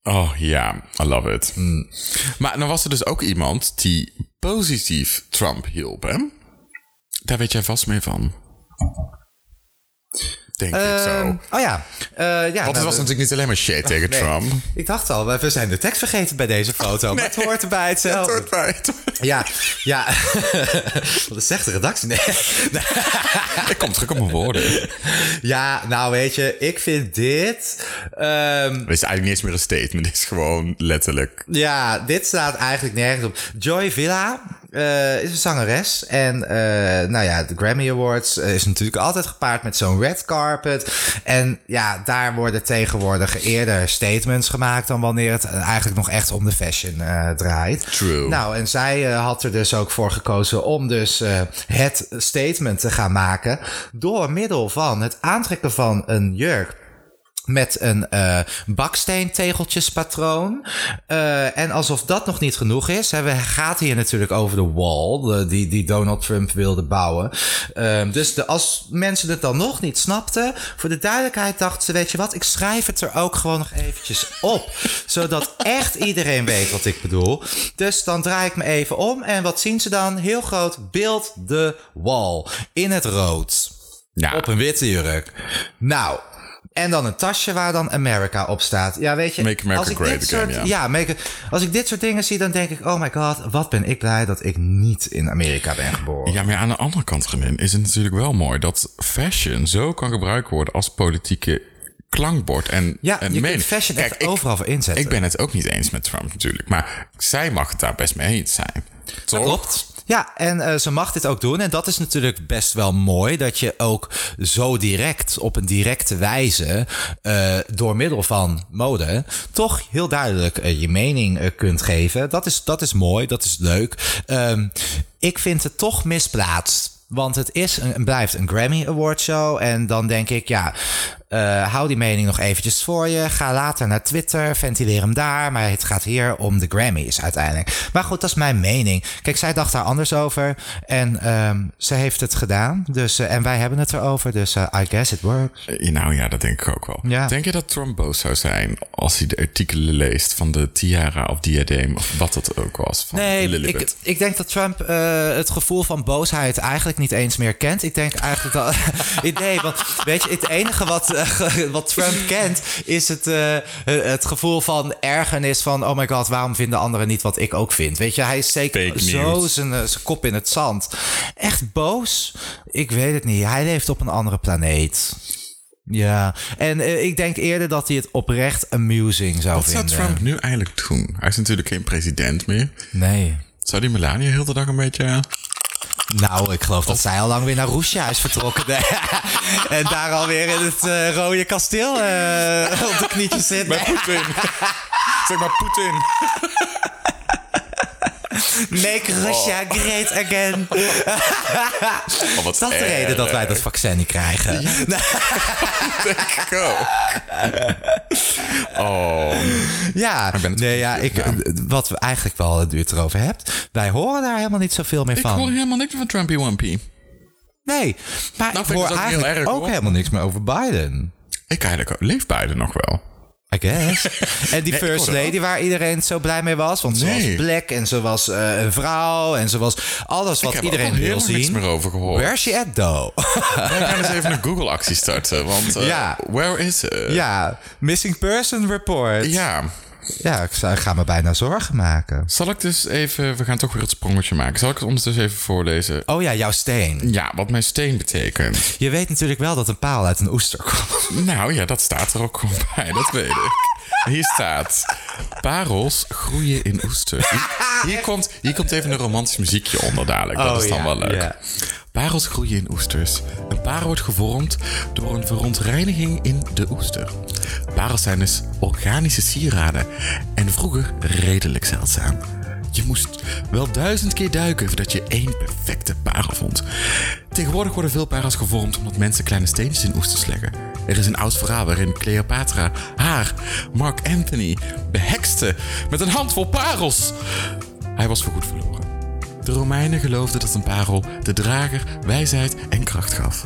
[SPEAKER 2] Oh ja, I love it.
[SPEAKER 3] Mm.
[SPEAKER 2] Maar dan was er dus ook iemand die positief Trump hielp, hè? Daar weet jij vast mee van. Denk ik zo. Want
[SPEAKER 3] Oh ja. Eh, ja nou,
[SPEAKER 2] het was natuurlijk niet alleen maar shit tegen
[SPEAKER 3] nee.
[SPEAKER 2] Trump.
[SPEAKER 3] Ik dacht al, we zijn de tekst vergeten bij deze foto. Maar het hoort erbij
[SPEAKER 2] Dat
[SPEAKER 3] hetzelfde.
[SPEAKER 2] hoort bij het.
[SPEAKER 3] Ja, ja. Wat is echt de redactie? Nee.
[SPEAKER 2] Ik kom terug op mijn woorden. Het
[SPEAKER 3] Ja, nou weet je, ik vind dit. ehm,
[SPEAKER 2] is eigenlijk niet eens meer een statement. Het is gewoon letterlijk...
[SPEAKER 3] ja, dit staat eigenlijk nergens op. Joy Villa eh, is een zangeres. En eh, nou ja, de Grammy Awards eh, is natuurlijk altijd gepaard met zo'n red carpet. En ja, daar worden tegenwoordig eerder statements gemaakt dan wanneer het eigenlijk nog echt om de fashion eh, draait.
[SPEAKER 2] True.
[SPEAKER 3] Nou, en zij eh, had er dus ook voor gekozen om dus eh, het statement te gaan maken door middel van het aantrekken van een jurk met een eh baksteentegeltjespatroon. Eh, en alsof dat nog niet genoeg is, hè, we gaat hier natuurlijk over de wall de- die, die Donald Trump wilde bouwen. Ehm, dus de, als mensen het dan nog niet snapten, voor de duidelijkheid dachten ze, weet je wat, ik schrijf het er ook gewoon nog eventjes op. zodat echt iedereen weet wat ik bedoel. Dus dan draai ik me even om en wat zien ze dan? Heel groot, beeld de wall in het rood.
[SPEAKER 2] Ja,
[SPEAKER 3] Op een witte jurk. Nou, en dan een tasje waar dan America op staat. Ja, weet je.
[SPEAKER 2] Make America
[SPEAKER 3] als ik
[SPEAKER 2] Great
[SPEAKER 3] dit
[SPEAKER 2] Again,
[SPEAKER 3] soort,
[SPEAKER 2] ja.
[SPEAKER 3] make- als ik dit soort dingen zie, dan denk ik... Oh my god, wat ben ik blij dat ik niet in Amerika ben geboren.
[SPEAKER 2] Ja, maar ja, aan de andere kant, vriendin, is het natuurlijk wel mooi dat fashion zo kan gebruikt worden als politieke klankbord en,
[SPEAKER 3] Ja,
[SPEAKER 2] en
[SPEAKER 3] je
[SPEAKER 2] mening.
[SPEAKER 3] kunt fashion
[SPEAKER 2] Kijk,
[SPEAKER 3] echt
[SPEAKER 2] ik-
[SPEAKER 3] overal voor inzetten.
[SPEAKER 2] Ik ben het ook niet eens met Trump natuurlijk, maar zij mag het daar best mee eens zijn. Toch?
[SPEAKER 3] Klopt. Ja, en eh, ze mag dit ook doen. En dat is natuurlijk best wel mooi. Dat je ook zo direct, op een directe wijze, eh, door middel van mode, toch heel duidelijk eh, je mening eh, kunt geven. Dat is, dat is mooi, dat is leuk. Ehm, ik vind het toch misplaatst. Want het is een, en blijft een Grammy Award show. En dan denk ik, ja, eh, hou die mening nog eventjes voor je. Ga later naar Twitter, ventileer hem daar. Maar het gaat hier om de Grammys uiteindelijk. Maar goed, dat is mijn mening. Kijk, zij dacht daar anders over. En ehm, ze heeft het gedaan. Dus, eh, en wij hebben het erover. Dus eh, I guess it works.
[SPEAKER 2] Eh, Nou ja, dat denk ik ook wel.
[SPEAKER 3] Ja.
[SPEAKER 2] Denk je dat Trump boos zou zijn als hij de artikelen leest van de tiara of diadeem of wat dat ook was van Lilibet?
[SPEAKER 3] ik, ik denk dat Trump eh, het gevoel van boosheid eigenlijk niet eens meer kent. Ik denk eigenlijk dat. nee, want weet je, het enige wat, eh, wat Trump kent is het, eh, het gevoel van ergernis van: oh my god, waarom vinden anderen niet wat ik ook vind? Weet je, hij steekt
[SPEAKER 2] Fake
[SPEAKER 3] zo
[SPEAKER 2] news.
[SPEAKER 3] zijn, eh, zijn kop in het zand. Echt boos? Ik weet het niet. Hij leeft op een andere planeet. Ja, en eh, ik denk eerder dat hij het oprecht amusing zou
[SPEAKER 2] Wat zou
[SPEAKER 3] vinden.
[SPEAKER 2] Trump nu eigenlijk doen? Hij is natuurlijk geen president meer.
[SPEAKER 3] Nee.
[SPEAKER 2] eh, Zou die Melania heel de dag een beetje...
[SPEAKER 3] Nou, ik geloof dat zij al lang weer naar Roesja is vertrokken. Nee. en daar alweer in het eh, rode kasteel eh, op de knietjes zit.
[SPEAKER 2] Bij Poetin. zeg maar Poetin.
[SPEAKER 3] Make Russia great again.
[SPEAKER 2] Oh, wat
[SPEAKER 3] Is dat de reden dat wij dat
[SPEAKER 2] eh.
[SPEAKER 3] vaccin niet krijgen?
[SPEAKER 2] Go. Oh,
[SPEAKER 3] Ja,
[SPEAKER 2] ben het
[SPEAKER 3] nee, ja ik, eh, wat we eigenlijk wel eh, het het erover hebt. Wij horen daar helemaal niet zoveel meer
[SPEAKER 2] ik
[SPEAKER 3] van.
[SPEAKER 2] hoor helemaal niks van Trumpy Wumpy.
[SPEAKER 3] Nee, maar
[SPEAKER 2] Nou, vind ik
[SPEAKER 3] ik hoor
[SPEAKER 2] het ook heel
[SPEAKER 3] eigenlijk
[SPEAKER 2] erg,
[SPEAKER 3] ook
[SPEAKER 2] hoor.
[SPEAKER 3] helemaal niks meer over Biden.
[SPEAKER 2] Ik eigenlijk ook. Leeft Biden nog wel?
[SPEAKER 3] I guess. En die
[SPEAKER 2] hoor
[SPEAKER 3] first
[SPEAKER 2] dat
[SPEAKER 3] lady waar iedereen zo blij mee was. Want ze was
[SPEAKER 2] Nee.
[SPEAKER 3] black en ze was eh, een vrouw en ze was alles wat
[SPEAKER 2] heb er ook
[SPEAKER 3] iedereen
[SPEAKER 2] al
[SPEAKER 3] wil
[SPEAKER 2] helemaal niks
[SPEAKER 3] zien.
[SPEAKER 2] meer over gehoord.
[SPEAKER 3] Where's she at though?
[SPEAKER 2] Wij gaan eens even een Google-actie starten. Want eh,
[SPEAKER 3] Ja.
[SPEAKER 2] where is ze?
[SPEAKER 3] ja, missing person report. Ja,
[SPEAKER 2] ja.
[SPEAKER 3] ik, zou- ik ga me bijna zorgen maken.
[SPEAKER 2] Zal ik dus even... We gaan toch weer het sprongetje maken. Zal ik het ondertussen even voorlezen?
[SPEAKER 3] Oh ja, jouw steen.
[SPEAKER 2] Ja, wat mijn steen betekent.
[SPEAKER 3] Je weet natuurlijk wel dat een paal uit een oester komt.
[SPEAKER 2] Nou ja, dat staat er ook gewoon bij. Dat weet ik. Hier staat... Parels groeien in oester. Hier komt, hier komt even een romantisch muziekje onder dadelijk. Dat
[SPEAKER 3] Oh,
[SPEAKER 2] is dan
[SPEAKER 3] ja,
[SPEAKER 2] wel leuk.
[SPEAKER 3] ja.
[SPEAKER 2] Parels groeien in oesters. Een parel wordt gevormd door een verontreiniging in de oester. Parels zijn dus organische sieraden en vroeger redelijk zeldzaam. Je moest wel duizend keer duiken voordat je één perfecte parel vond. Tegenwoordig worden veel parels gevormd omdat mensen kleine steentjes in oesters leggen. Er is een oud verhaal waarin Cleopatra haar, Mark Anthony, behekste met een handvol parels. Hij was voorgoed verloren. De Romeinen geloofden dat een parel de drager wijsheid en kracht gaf.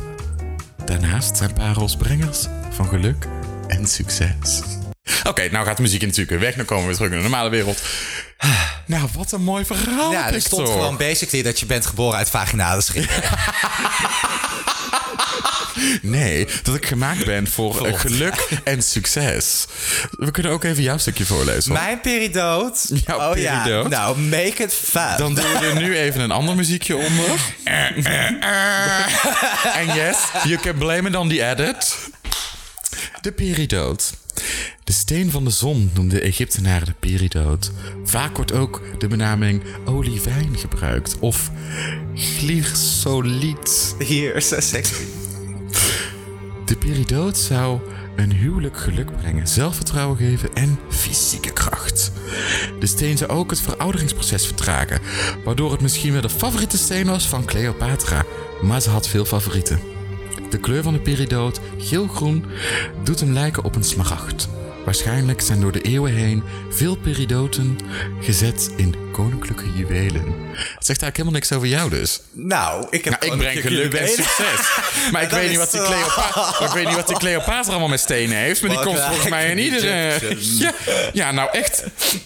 [SPEAKER 2] Daarnaast zijn parels brengers van geluk en succes. Oké, nou gaat de muziek in natuurlijk weer weg. Dan komen we weer terug naar de normale wereld. Nou, wat een mooi verhaal,
[SPEAKER 3] Ja, er
[SPEAKER 2] Victor.
[SPEAKER 3] stond gewoon basically dat je bent geboren uit vaginale schimmel.
[SPEAKER 2] Nee, dat ik gemaakt ben voor eh, geluk en succes. We kunnen ook even jouw stukje voorlezen. hoor.
[SPEAKER 3] Mijn peridood.
[SPEAKER 2] Jouw
[SPEAKER 3] oh ja,
[SPEAKER 2] peridood.
[SPEAKER 3] nou make it fun.
[SPEAKER 2] Dan doen we er nu even een ander muziekje onder. En yes, you can blame it on the edit. De peridood. De steen van de zon noemden de Egyptenaren de peridood. Vaak wordt ook de benaming olivijn gebruikt of gliersoliet.
[SPEAKER 3] Hier, zo sexy.
[SPEAKER 2] De peridood zou een huwelijk geluk brengen, zelfvertrouwen geven en fysieke kracht. De steen zou ook het verouderingsproces vertragen, waardoor het misschien wel de favoriete steen was van Cleopatra, maar ze had veel favorieten. De kleur van de peridood, geel-groen, doet hem lijken op een smaragd. Waarschijnlijk zijn door de eeuwen heen veel peridoten gezet in koninklijke juwelen. Het zegt eigenlijk helemaal niks over jou dus.
[SPEAKER 3] Nou, ik heb
[SPEAKER 2] Nou, ik
[SPEAKER 3] gewoon
[SPEAKER 2] breng
[SPEAKER 3] een
[SPEAKER 2] geluk en
[SPEAKER 3] benen.
[SPEAKER 2] succes. Maar ik
[SPEAKER 3] Dat
[SPEAKER 2] weet, niet
[SPEAKER 3] is
[SPEAKER 2] wat die
[SPEAKER 3] zo.
[SPEAKER 2] Cleopatra, maar ik weet niet wat die Cleopatra allemaal met stenen heeft. Maar die
[SPEAKER 3] Wat
[SPEAKER 2] komt
[SPEAKER 3] een
[SPEAKER 2] volgens mij in iedere...
[SPEAKER 3] Egyptian.
[SPEAKER 2] Ja, ja, nou echt.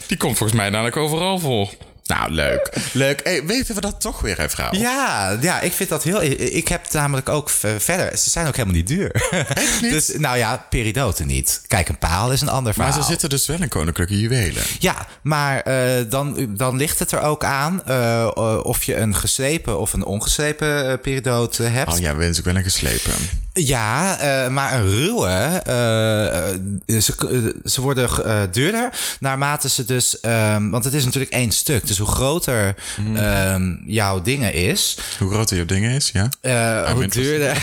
[SPEAKER 2] Die komt volgens mij namelijk overal voor. Nou, leuk. Leuk. Hey, weten we dat toch weer, hè, vrouw?
[SPEAKER 3] Ja, ja, ik vind dat heel. Ik heb namelijk ook ver- verder. Ze zijn ook helemaal niet duur. Echt
[SPEAKER 2] niet?
[SPEAKER 3] Dus, nou ja, peridoten niet. Kijk, een paal is een ander
[SPEAKER 2] Maar
[SPEAKER 3] verhaal.
[SPEAKER 2] ze zitten dus wel in koninklijke juwelen.
[SPEAKER 3] Ja, maar eh, dan, dan ligt het er ook aan eh, eh, of je een geslepen of een ongeslepen eh, peridoot eh, hebt.
[SPEAKER 2] Oh ja, wens ik wel een geslepen.
[SPEAKER 3] Ja, eh, maar een ruwe, eh, eh, ze, eh, ze worden eh, duurder naarmate ze dus, ehm, want het is natuurlijk één stuk. Dus hoe groter
[SPEAKER 2] Mm.
[SPEAKER 3] ehm, jouw dingen is,
[SPEAKER 2] Hoe groot jouw ding is, ja?
[SPEAKER 3] eh, hoe
[SPEAKER 2] winter.
[SPEAKER 3] duurder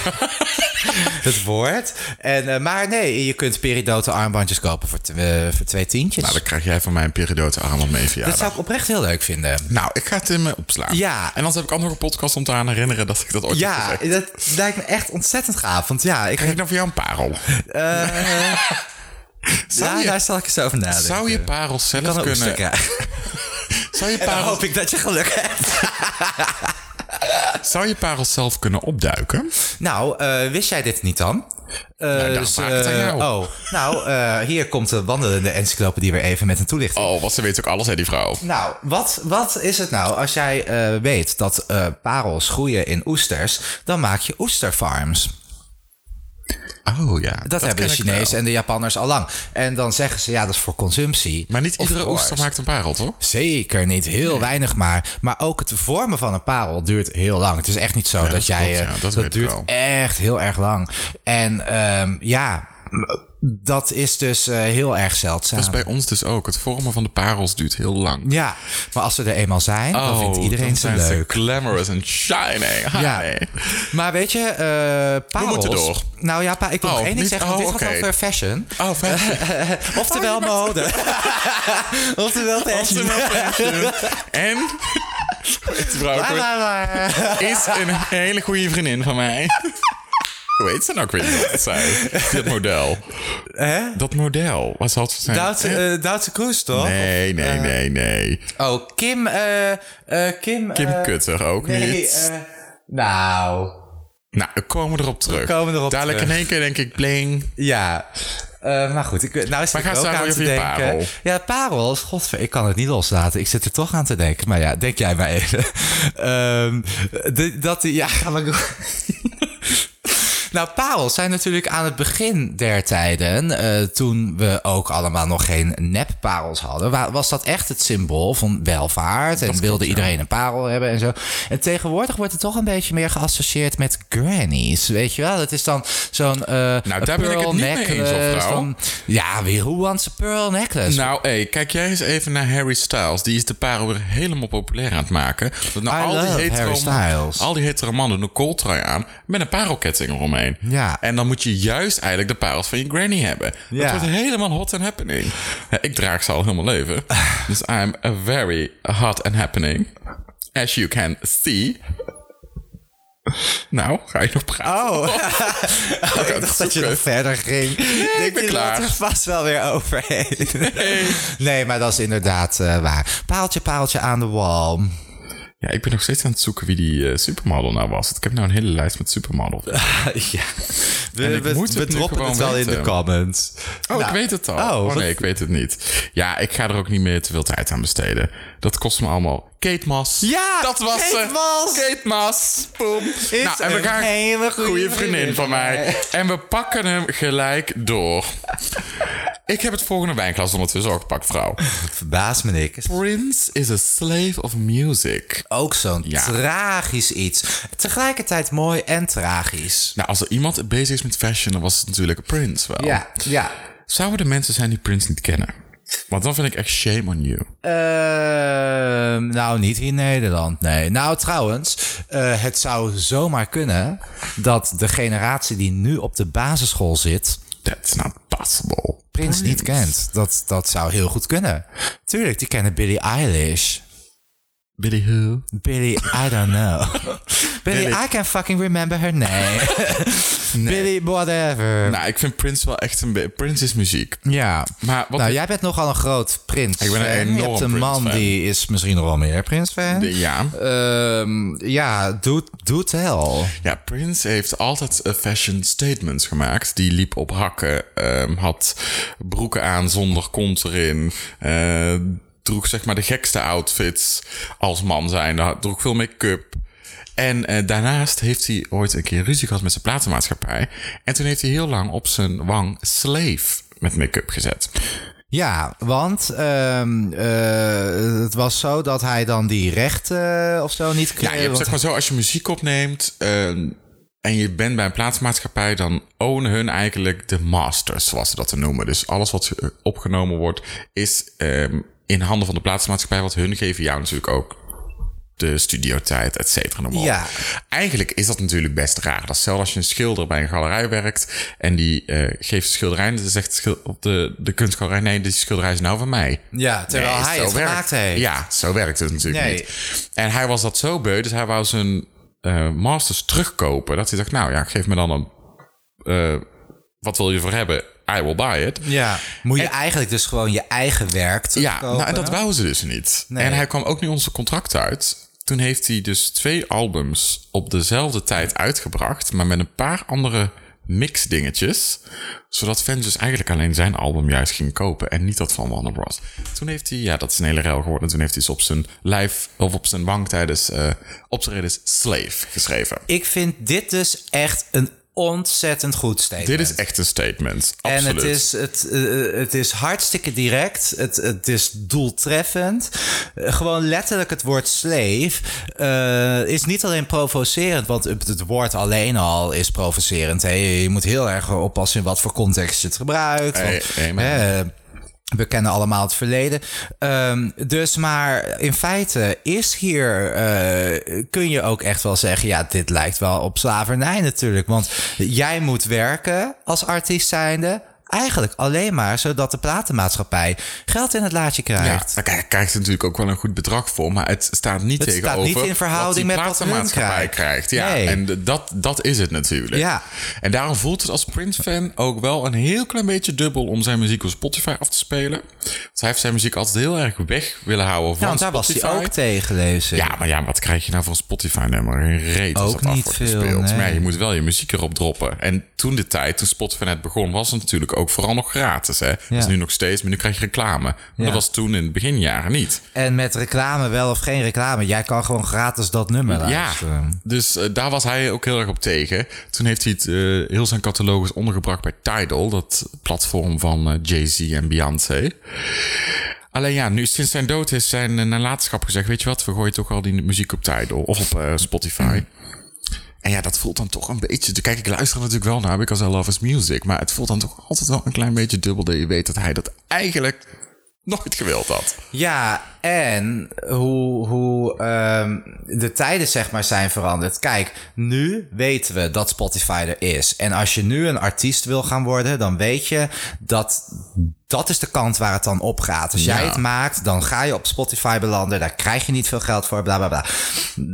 [SPEAKER 3] het wordt. En, eh, maar nee, je kunt peridote armbandjes kopen voor, tw- eh, voor twee tientjes.
[SPEAKER 2] Nou, dan krijg jij van mij een peridote armband mee
[SPEAKER 3] dat
[SPEAKER 2] verjaardag.
[SPEAKER 3] zou ik oprecht heel leuk vinden.
[SPEAKER 2] Nou, ik ga het in me opslaan.
[SPEAKER 3] Ja.
[SPEAKER 2] En anders heb ik ook nog een podcast om te aan herinneren dat ik dat ooit heb
[SPEAKER 3] Ja,
[SPEAKER 2] gezegd.
[SPEAKER 3] dat lijkt me echt ontzettend gaaf. Want ja, ik,
[SPEAKER 2] Krijg ik dan voor jou een parel?
[SPEAKER 3] Eh, ja,
[SPEAKER 2] je-
[SPEAKER 3] daar zal ik eens over nadenken.
[SPEAKER 2] Zou je parels zelf
[SPEAKER 3] kan een
[SPEAKER 2] kunnen...
[SPEAKER 3] oester krijgen.
[SPEAKER 2] Zou je,
[SPEAKER 3] Dan
[SPEAKER 2] parels,
[SPEAKER 3] hoop ik dat je geluk hebt.
[SPEAKER 2] zou je parels zelf kunnen opduiken?
[SPEAKER 3] Nou, eh, wist jij dit niet dan? Eh,
[SPEAKER 2] dan vraag ik het aan
[SPEAKER 3] eh,
[SPEAKER 2] jou.
[SPEAKER 3] oh, nou, eh, hier komt de wandelende encyclopedie weer even met een toelichting.
[SPEAKER 2] Oh, wat ze weet ook alles, hè, die vrouw.
[SPEAKER 3] Nou, wat, wat is het nou als jij eh, weet dat eh, parels groeien in oesters? Dan maak je oesterfarms.
[SPEAKER 2] Oh ja.
[SPEAKER 3] Dat, hebben de Chinezen en de Japanners al lang. En dan zeggen ze, ja, dat is voor consumptie.
[SPEAKER 2] Maar niet
[SPEAKER 3] Of
[SPEAKER 2] iedere
[SPEAKER 3] course.
[SPEAKER 2] oester maakt een parel, toch?
[SPEAKER 3] Zeker niet, heel weinig maar. Maar ook het vormen van een parel duurt heel lang. Het is echt niet zo dat,
[SPEAKER 2] dat
[SPEAKER 3] jij...
[SPEAKER 2] klopt,
[SPEAKER 3] eh,
[SPEAKER 2] ja, dat
[SPEAKER 3] dat
[SPEAKER 2] weet ik
[SPEAKER 3] duurt
[SPEAKER 2] wel.
[SPEAKER 3] echt heel erg lang. En ehm, ja, m- dat is dus eh, heel erg zeldzaam.
[SPEAKER 2] Dat is bij ons dus ook. Het vormen van de parels duurt heel lang. Oh,
[SPEAKER 3] Ja, maar als we er eenmaal zijn, dan vindt iedereen
[SPEAKER 2] dan
[SPEAKER 3] ze
[SPEAKER 2] zijn ze
[SPEAKER 3] leuk.
[SPEAKER 2] glamorous en shining. Hi.
[SPEAKER 3] Ja, maar weet je, eh parels...
[SPEAKER 2] moeten door.
[SPEAKER 3] Nou ja, pa, ik wil
[SPEAKER 2] Oh,
[SPEAKER 3] nog één ding
[SPEAKER 2] niet-
[SPEAKER 3] zeggen, want
[SPEAKER 2] oh,
[SPEAKER 3] dit gaat
[SPEAKER 2] oké.
[SPEAKER 3] over fashion.
[SPEAKER 2] Oh, fashion.
[SPEAKER 3] Oftewel mode. Oftewel fashion.
[SPEAKER 2] Oftewel fashion. En... Het vrouw
[SPEAKER 3] La, la, la.
[SPEAKER 2] is een hele goede vriendin van mij. Hoe heet ze nou? Ik weet niet wat het zei. Dat model. Dat model. Wat zal het zijn?
[SPEAKER 3] Duitse, eh, Duitse Kroes, toch? Eh,
[SPEAKER 2] nee, nee, nee, nee.
[SPEAKER 3] Oh, Kim... eh, eh, Kim...
[SPEAKER 2] Kim
[SPEAKER 3] eh,
[SPEAKER 2] Kutter ook
[SPEAKER 3] Nee,
[SPEAKER 2] niet.
[SPEAKER 3] eh, nou...
[SPEAKER 2] nou, we komen erop terug.
[SPEAKER 3] komen erop
[SPEAKER 2] Dadelijk
[SPEAKER 3] terug.
[SPEAKER 2] in één keer denk ik bling.
[SPEAKER 3] Ja. Eh, maar goed, ik, nou is
[SPEAKER 2] Maar
[SPEAKER 3] ik
[SPEAKER 2] ga
[SPEAKER 3] er ook
[SPEAKER 2] staan
[SPEAKER 3] aan
[SPEAKER 2] weer
[SPEAKER 3] te
[SPEAKER 2] voor je
[SPEAKER 3] denken.
[SPEAKER 2] parel.
[SPEAKER 3] Ja, parels. Godver, ik kan het niet loslaten. Ik zit er toch aan te denken. Maar ja, denk jij maar even. Ehm, de- dat die, ja, ga maar door. Nou, parels zijn natuurlijk aan het begin der tijden, eh, toen we ook allemaal nog geen nepparels hadden, wa- was dat echt het symbool van welvaart en wilde iedereen een parel hebben en zo. En tegenwoordig wordt het toch een beetje meer geassocieerd met grannies, weet je wel? Dat is dan zo'n eh
[SPEAKER 2] Nou, daar ben ik het
[SPEAKER 3] pearl
[SPEAKER 2] niet mee eens, of
[SPEAKER 3] necklace,
[SPEAKER 2] nou?
[SPEAKER 3] dan- ja, weer hoe wants a pearl necklace?
[SPEAKER 2] Nou, hé, kijk jij eens even naar Harry Styles. Die is de parel weer helemaal populair aan het maken. Dat nou
[SPEAKER 3] I
[SPEAKER 2] al,
[SPEAKER 3] love
[SPEAKER 2] die hetero,
[SPEAKER 3] Harry Styles.
[SPEAKER 2] al die hetero mannen een kooltrui aan met een parelketting eromheen.
[SPEAKER 3] Ja.
[SPEAKER 2] En dan moet je juist eigenlijk de parels van je granny hebben.
[SPEAKER 3] Ja.
[SPEAKER 2] Dat wordt helemaal hot and happening. Ja, ik draag ze al helemaal leven. dus I'm a very hot and happening. As you can see. Nou, ga je nog praten?
[SPEAKER 3] Oh,
[SPEAKER 2] Ik ga het
[SPEAKER 3] dat je
[SPEAKER 2] zoeken.
[SPEAKER 3] nog verder ging.
[SPEAKER 2] ik ben
[SPEAKER 3] je
[SPEAKER 2] klaar.
[SPEAKER 3] laat er vast wel weer overheen. Nee, maar dat is inderdaad eh, waar. Paaltje, paaltje aan de wal.
[SPEAKER 2] Ja, ik ben nog steeds aan het zoeken wie die eh, supermodel nou was. Ik heb nou een hele lijst met supermodel.
[SPEAKER 3] ja.
[SPEAKER 2] En
[SPEAKER 3] We,
[SPEAKER 2] ik
[SPEAKER 3] we,
[SPEAKER 2] moet het
[SPEAKER 3] we
[SPEAKER 2] nu
[SPEAKER 3] droppen
[SPEAKER 2] gewoon
[SPEAKER 3] het wel in
[SPEAKER 2] weten.
[SPEAKER 3] de comments.
[SPEAKER 2] Oh,
[SPEAKER 3] Nou,
[SPEAKER 2] ik weet het al.
[SPEAKER 3] oh,
[SPEAKER 2] Oh,
[SPEAKER 3] wat-
[SPEAKER 2] nee, ik weet het niet. Ja, ik ga er ook niet meer te veel tijd aan besteden. Dat kost me allemaal. Kate Mas.
[SPEAKER 3] Ja,
[SPEAKER 2] dat was
[SPEAKER 3] Kate
[SPEAKER 2] ze.
[SPEAKER 3] Mas.
[SPEAKER 2] Kate Mas. Boom. Nou, en we
[SPEAKER 3] een
[SPEAKER 2] gaan.
[SPEAKER 3] hele goede
[SPEAKER 2] goede vriendin van mij. En we pakken hem gelijk door. ik heb het volgende wijnglas ondertussen ook gepakt, vrouw.
[SPEAKER 3] Verbaas me niks.
[SPEAKER 2] Prince is a slave of music.
[SPEAKER 3] Ook zo'n
[SPEAKER 2] Ja.
[SPEAKER 3] tragisch iets. Tegelijkertijd mooi en tragisch.
[SPEAKER 2] Nou, als er iemand bezig is met fashion, dan was het natuurlijk Prince wel.
[SPEAKER 3] ja.
[SPEAKER 2] Zouden er mensen zijn die Prince niet kennen? Want dan vind ik echt shame on you.
[SPEAKER 3] Ehm, nou, niet hier in Nederland, nee. Nou, trouwens, eh, het zou zomaar kunnen dat de generatie die nu op de basisschool zit,
[SPEAKER 2] That's not possible.
[SPEAKER 3] Prins niet kent. Dat, dat zou heel goed kunnen. Tuurlijk, die kennen Billie Eilish.
[SPEAKER 2] Billy who?
[SPEAKER 3] Billy, I don't know. Billy,
[SPEAKER 2] Billie-
[SPEAKER 3] I can fucking remember her name. Billy, whatever.
[SPEAKER 2] Nou, ik vind Prince wel echt een beetje... Prince is muziek.
[SPEAKER 3] ja.
[SPEAKER 2] Maar wat...
[SPEAKER 3] nou, jij bent nogal een groot prins.
[SPEAKER 2] Ik ben een enorm
[SPEAKER 3] Je hebt een
[SPEAKER 2] prins
[SPEAKER 3] man
[SPEAKER 2] fan.
[SPEAKER 3] die is misschien nog wel meer prins fan.
[SPEAKER 2] de- ja.
[SPEAKER 3] Ehm, ja, doe, doe tell.
[SPEAKER 2] ja, Prince heeft altijd eh, fashion statements gemaakt. Die liep op hakken, ehm, had broeken aan zonder kont erin... eh, droeg zeg maar de gekste outfits als man zijnde. had- Droeg veel make-up. En eh, daarnaast heeft hij ooit een keer ruzie gehad met zijn platenmaatschappij. En toen heeft hij heel lang op zijn wang slave met make-up gezet.
[SPEAKER 3] Ja, want ehm, eh, het was zo dat hij dan die rechten eh, of zo niet...
[SPEAKER 2] Ja, je hebt
[SPEAKER 3] want-
[SPEAKER 2] zeg maar zo, als je muziek opneemt eh, en je bent bij een plaatsmaatschappij, dan ownen hun eigenlijk de masters, zoals ze dat te noemen. Dus alles wat eh, opgenomen wordt, is ehm, in handen van de plaatsmaatschappij, want hun geven jou natuurlijk ook de studiotijd, et cetera. noem maar op.
[SPEAKER 3] Ja.
[SPEAKER 2] Eigenlijk is dat natuurlijk best raar. Dat is hetzelfde als je een schilder bij een galerij werkt en die eh, geeft een schilderij en dan zegt de schil- op de, de kunstgalerij, nee, die schilderij is nou van mij.
[SPEAKER 3] ja, terwijl
[SPEAKER 2] Nee,
[SPEAKER 3] hij
[SPEAKER 2] zo
[SPEAKER 3] het
[SPEAKER 2] werkt-
[SPEAKER 3] gemaakt heeft.
[SPEAKER 2] Ja, zo werkt het natuurlijk
[SPEAKER 3] Nee.
[SPEAKER 2] niet. En hij was dat zo beu, dus hij wou zijn eh, masters terugkopen. Dat hij dacht, nou ja, geef me dan een... eh, wat wil je voor hebben? I will buy it.
[SPEAKER 3] Ja, moet je eigenlijk dus gewoon je eigen werk
[SPEAKER 2] Ja,
[SPEAKER 3] terugkopen.
[SPEAKER 2] nou, en dat wou ze dus niet.
[SPEAKER 3] Nee.
[SPEAKER 2] En hij kwam ook niet onze contract uit. Toen heeft hij dus twee albums op dezelfde tijd uitgebracht, maar met een paar andere mixdingetjes. Zodat fans dus eigenlijk alleen zijn album juist gingen kopen en niet dat van Warner Bros. Toen heeft hij, ja, dat is een hele rel geworden. Toen heeft hij ze op zijn live of op zijn bank tijdens eh optredens Slave geschreven.
[SPEAKER 3] Ik vind dit dus echt een ontzettend goed statement.
[SPEAKER 2] Dit is echt een statement. Absoluut.
[SPEAKER 3] En het is, het, eh, het is hartstikke direct. Het, het is doeltreffend. Eh, gewoon letterlijk het woord slave eh, is niet alleen provocerend. Want het het woord alleen al is provocerend. Hè. Je moet heel erg oppassen in wat voor context je het gebruikt.
[SPEAKER 2] Hey,
[SPEAKER 3] want,
[SPEAKER 2] hey, man.
[SPEAKER 3] hè, Eh, we kennen allemaal het verleden. Ehm, dus maar in feite is hier, eh, kun je ook echt wel zeggen, ja, dit lijkt wel op slavernij natuurlijk. Want jij moet werken als artiest zijnde. Eigenlijk alleen maar zodat de platenmaatschappij geld in het laatje
[SPEAKER 2] Ja,
[SPEAKER 3] krijgt.
[SPEAKER 2] daar krijg- krijgt er natuurlijk ook wel een goed bedrag voor, maar het staat niet
[SPEAKER 3] Het staat
[SPEAKER 2] tegenover
[SPEAKER 3] niet in verhouding
[SPEAKER 2] wat
[SPEAKER 3] met
[SPEAKER 2] die
[SPEAKER 3] wat hun
[SPEAKER 2] platenmaatschappij
[SPEAKER 3] krijgt.
[SPEAKER 2] krijgt. Ja,
[SPEAKER 3] Nee.
[SPEAKER 2] en de- dat, dat is het natuurlijk.
[SPEAKER 3] Ja.
[SPEAKER 2] En daarom voelt het als Prince-fan ook wel een heel klein beetje dubbel om zijn muziek op Spotify af te spelen. Want hij heeft zijn muziek altijd heel erg weg willen houden van
[SPEAKER 3] nou, want daar was
[SPEAKER 2] Spotify.
[SPEAKER 3] hij ook tegen, lees ik.
[SPEAKER 2] Ja, maar ja, maar wat krijg je nou voor een Spotify-nummer? Een reet als
[SPEAKER 3] Ook
[SPEAKER 2] dat af
[SPEAKER 3] niet
[SPEAKER 2] wordt
[SPEAKER 3] veel,
[SPEAKER 2] gespeeld.
[SPEAKER 3] nee.
[SPEAKER 2] Maar ja, je moet wel je muziek erop droppen. En toen de tijd, toen Spotify net begon, was het natuurlijk ook vooral nog gratis. Hè? Dat is nu nog steeds, maar nu krijg je reclame. Maar
[SPEAKER 3] Ja.
[SPEAKER 2] dat was toen in het beginjaren niet.
[SPEAKER 3] En met reclame wel of geen reclame. Jij kan gewoon gratis dat
[SPEAKER 2] Ja,
[SPEAKER 3] nummer luisteren.
[SPEAKER 2] dus eh, daar was hij ook heel erg op tegen. Toen heeft hij het, eh, heel zijn catalogus ondergebracht bij Tidal, dat platform van eh, Jay-Z en Beyoncé. Alleen ja, nu sinds zijn dood is zijn eh, nalatenschap gezegd: Weet je wat, we gooien toch al die muziek op Tidal of op eh, Spotify. En ja, dat voelt dan toch een beetje. Kijk, ik luister er natuurlijk wel naar because I love his music. Maar het voelt dan toch altijd wel een klein beetje dubbel dat je weet dat hij dat eigenlijk nooit gewild had.
[SPEAKER 3] Ja, en hoe, hoe ehm, de tijden zeg maar zijn veranderd. Kijk, nu weten we dat Spotify er is. En als je nu een artiest wil gaan worden, dan weet je dat dat is de kant waar het dan op gaat. Als jij
[SPEAKER 2] Ja.
[SPEAKER 3] het maakt, dan ga je op Spotify belanden. Daar krijg je niet veel geld voor, bla bla bla.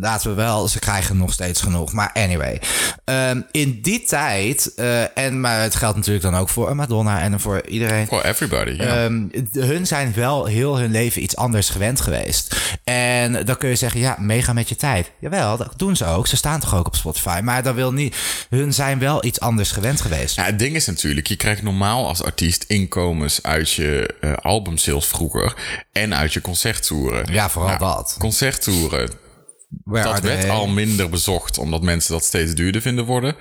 [SPEAKER 3] Laten we wel, ze krijgen nog steeds genoeg. Maar anyway, Ehm, in die tijd, eh, en maar het geldt natuurlijk dan ook voor Madonna en voor iedereen.
[SPEAKER 2] For everybody. Ja.
[SPEAKER 3] Ehm, d- hun zijn wel heel hun leven iets anders gewend geweest. En dan kun je zeggen, ja, meega met je tijd. Jawel, dat doen ze ook. Ze staan toch ook op Spotify. Maar dat wil niet... Hun zijn wel iets anders gewend geweest.
[SPEAKER 2] Ja, het ding is natuurlijk, je krijgt normaal als artiest inkomens uit je eh, albumsales vroeger en uit je concerttoeren.
[SPEAKER 3] Ja, vooral dat.
[SPEAKER 2] Concerttoeren,
[SPEAKER 3] Where
[SPEAKER 2] dat
[SPEAKER 3] are they?
[SPEAKER 2] werd al minder bezocht, omdat mensen dat steeds duurder vinden worden.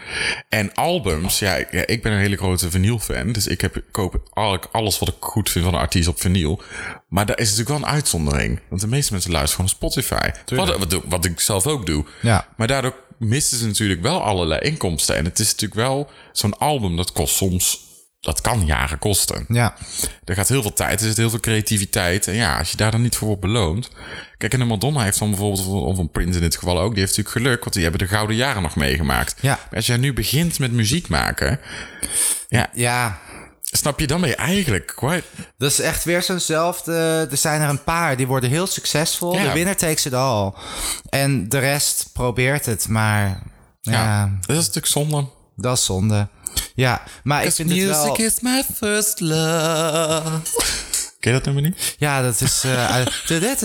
[SPEAKER 2] En albums, ja, ik, ja, ik ben een hele grote vinylfan, dus ik heb, koop eigenlijk alles wat ik goed vind van een artiest op vinyl. Maar daar is natuurlijk wel een uitzondering, want de meeste mensen luisteren gewoon op Spotify. Wat, wat, wat ik zelf ook doe.
[SPEAKER 3] Ja.
[SPEAKER 2] Maar daardoor misten ze natuurlijk wel allerlei inkomsten. En het is natuurlijk wel zo'n album dat kost soms. Dat kan jaren kosten.
[SPEAKER 3] Ja.
[SPEAKER 2] Er gaat heel veel tijd, er zit heel veel creativiteit. En ja, als je daar dan niet voor wordt beloond. Kijk, en een Madonna heeft dan bijvoorbeeld, of een Prince in dit geval ook, die heeft natuurlijk geluk, want die hebben de gouden jaren nog meegemaakt.
[SPEAKER 3] Ja.
[SPEAKER 2] Maar als jij nu begint met muziek maken, ja,
[SPEAKER 3] Ja,
[SPEAKER 2] snap je, dan ben je eigenlijk kwijt.
[SPEAKER 3] dat is echt weer zo'nzelfde... Er zijn er een paar, die worden heel succesvol.
[SPEAKER 2] Ja.
[SPEAKER 3] De winner takes it all. En de rest probeert het, maar... Ja,
[SPEAKER 2] Dat is natuurlijk zonde.
[SPEAKER 3] dat is zonde. Ja, maar ik vind het wel...
[SPEAKER 2] is my first love. Ken je dat nummer niet?
[SPEAKER 3] Ja, dat is, eh uit, dat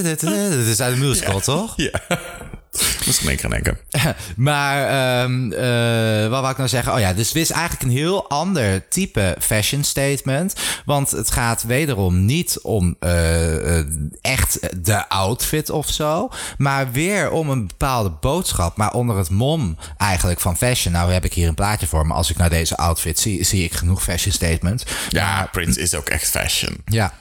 [SPEAKER 3] is uit de musical, toch?
[SPEAKER 2] Ja. Dat is in één keer in één keer.
[SPEAKER 3] Maar ehm, eh, wat wou ik nou zeggen? Oh ja, dus dit is eigenlijk een heel ander type fashion statement. Want het gaat wederom niet om eh, eh, echt de outfit of zo. Maar weer om een bepaalde boodschap. Maar onder het mom eigenlijk van fashion. Nou heb ik hier een plaatje voor me. Als ik naar deze outfit zie, zie ik genoeg fashion statements.
[SPEAKER 2] Ja, Prince is ook echt fashion.
[SPEAKER 3] Ja,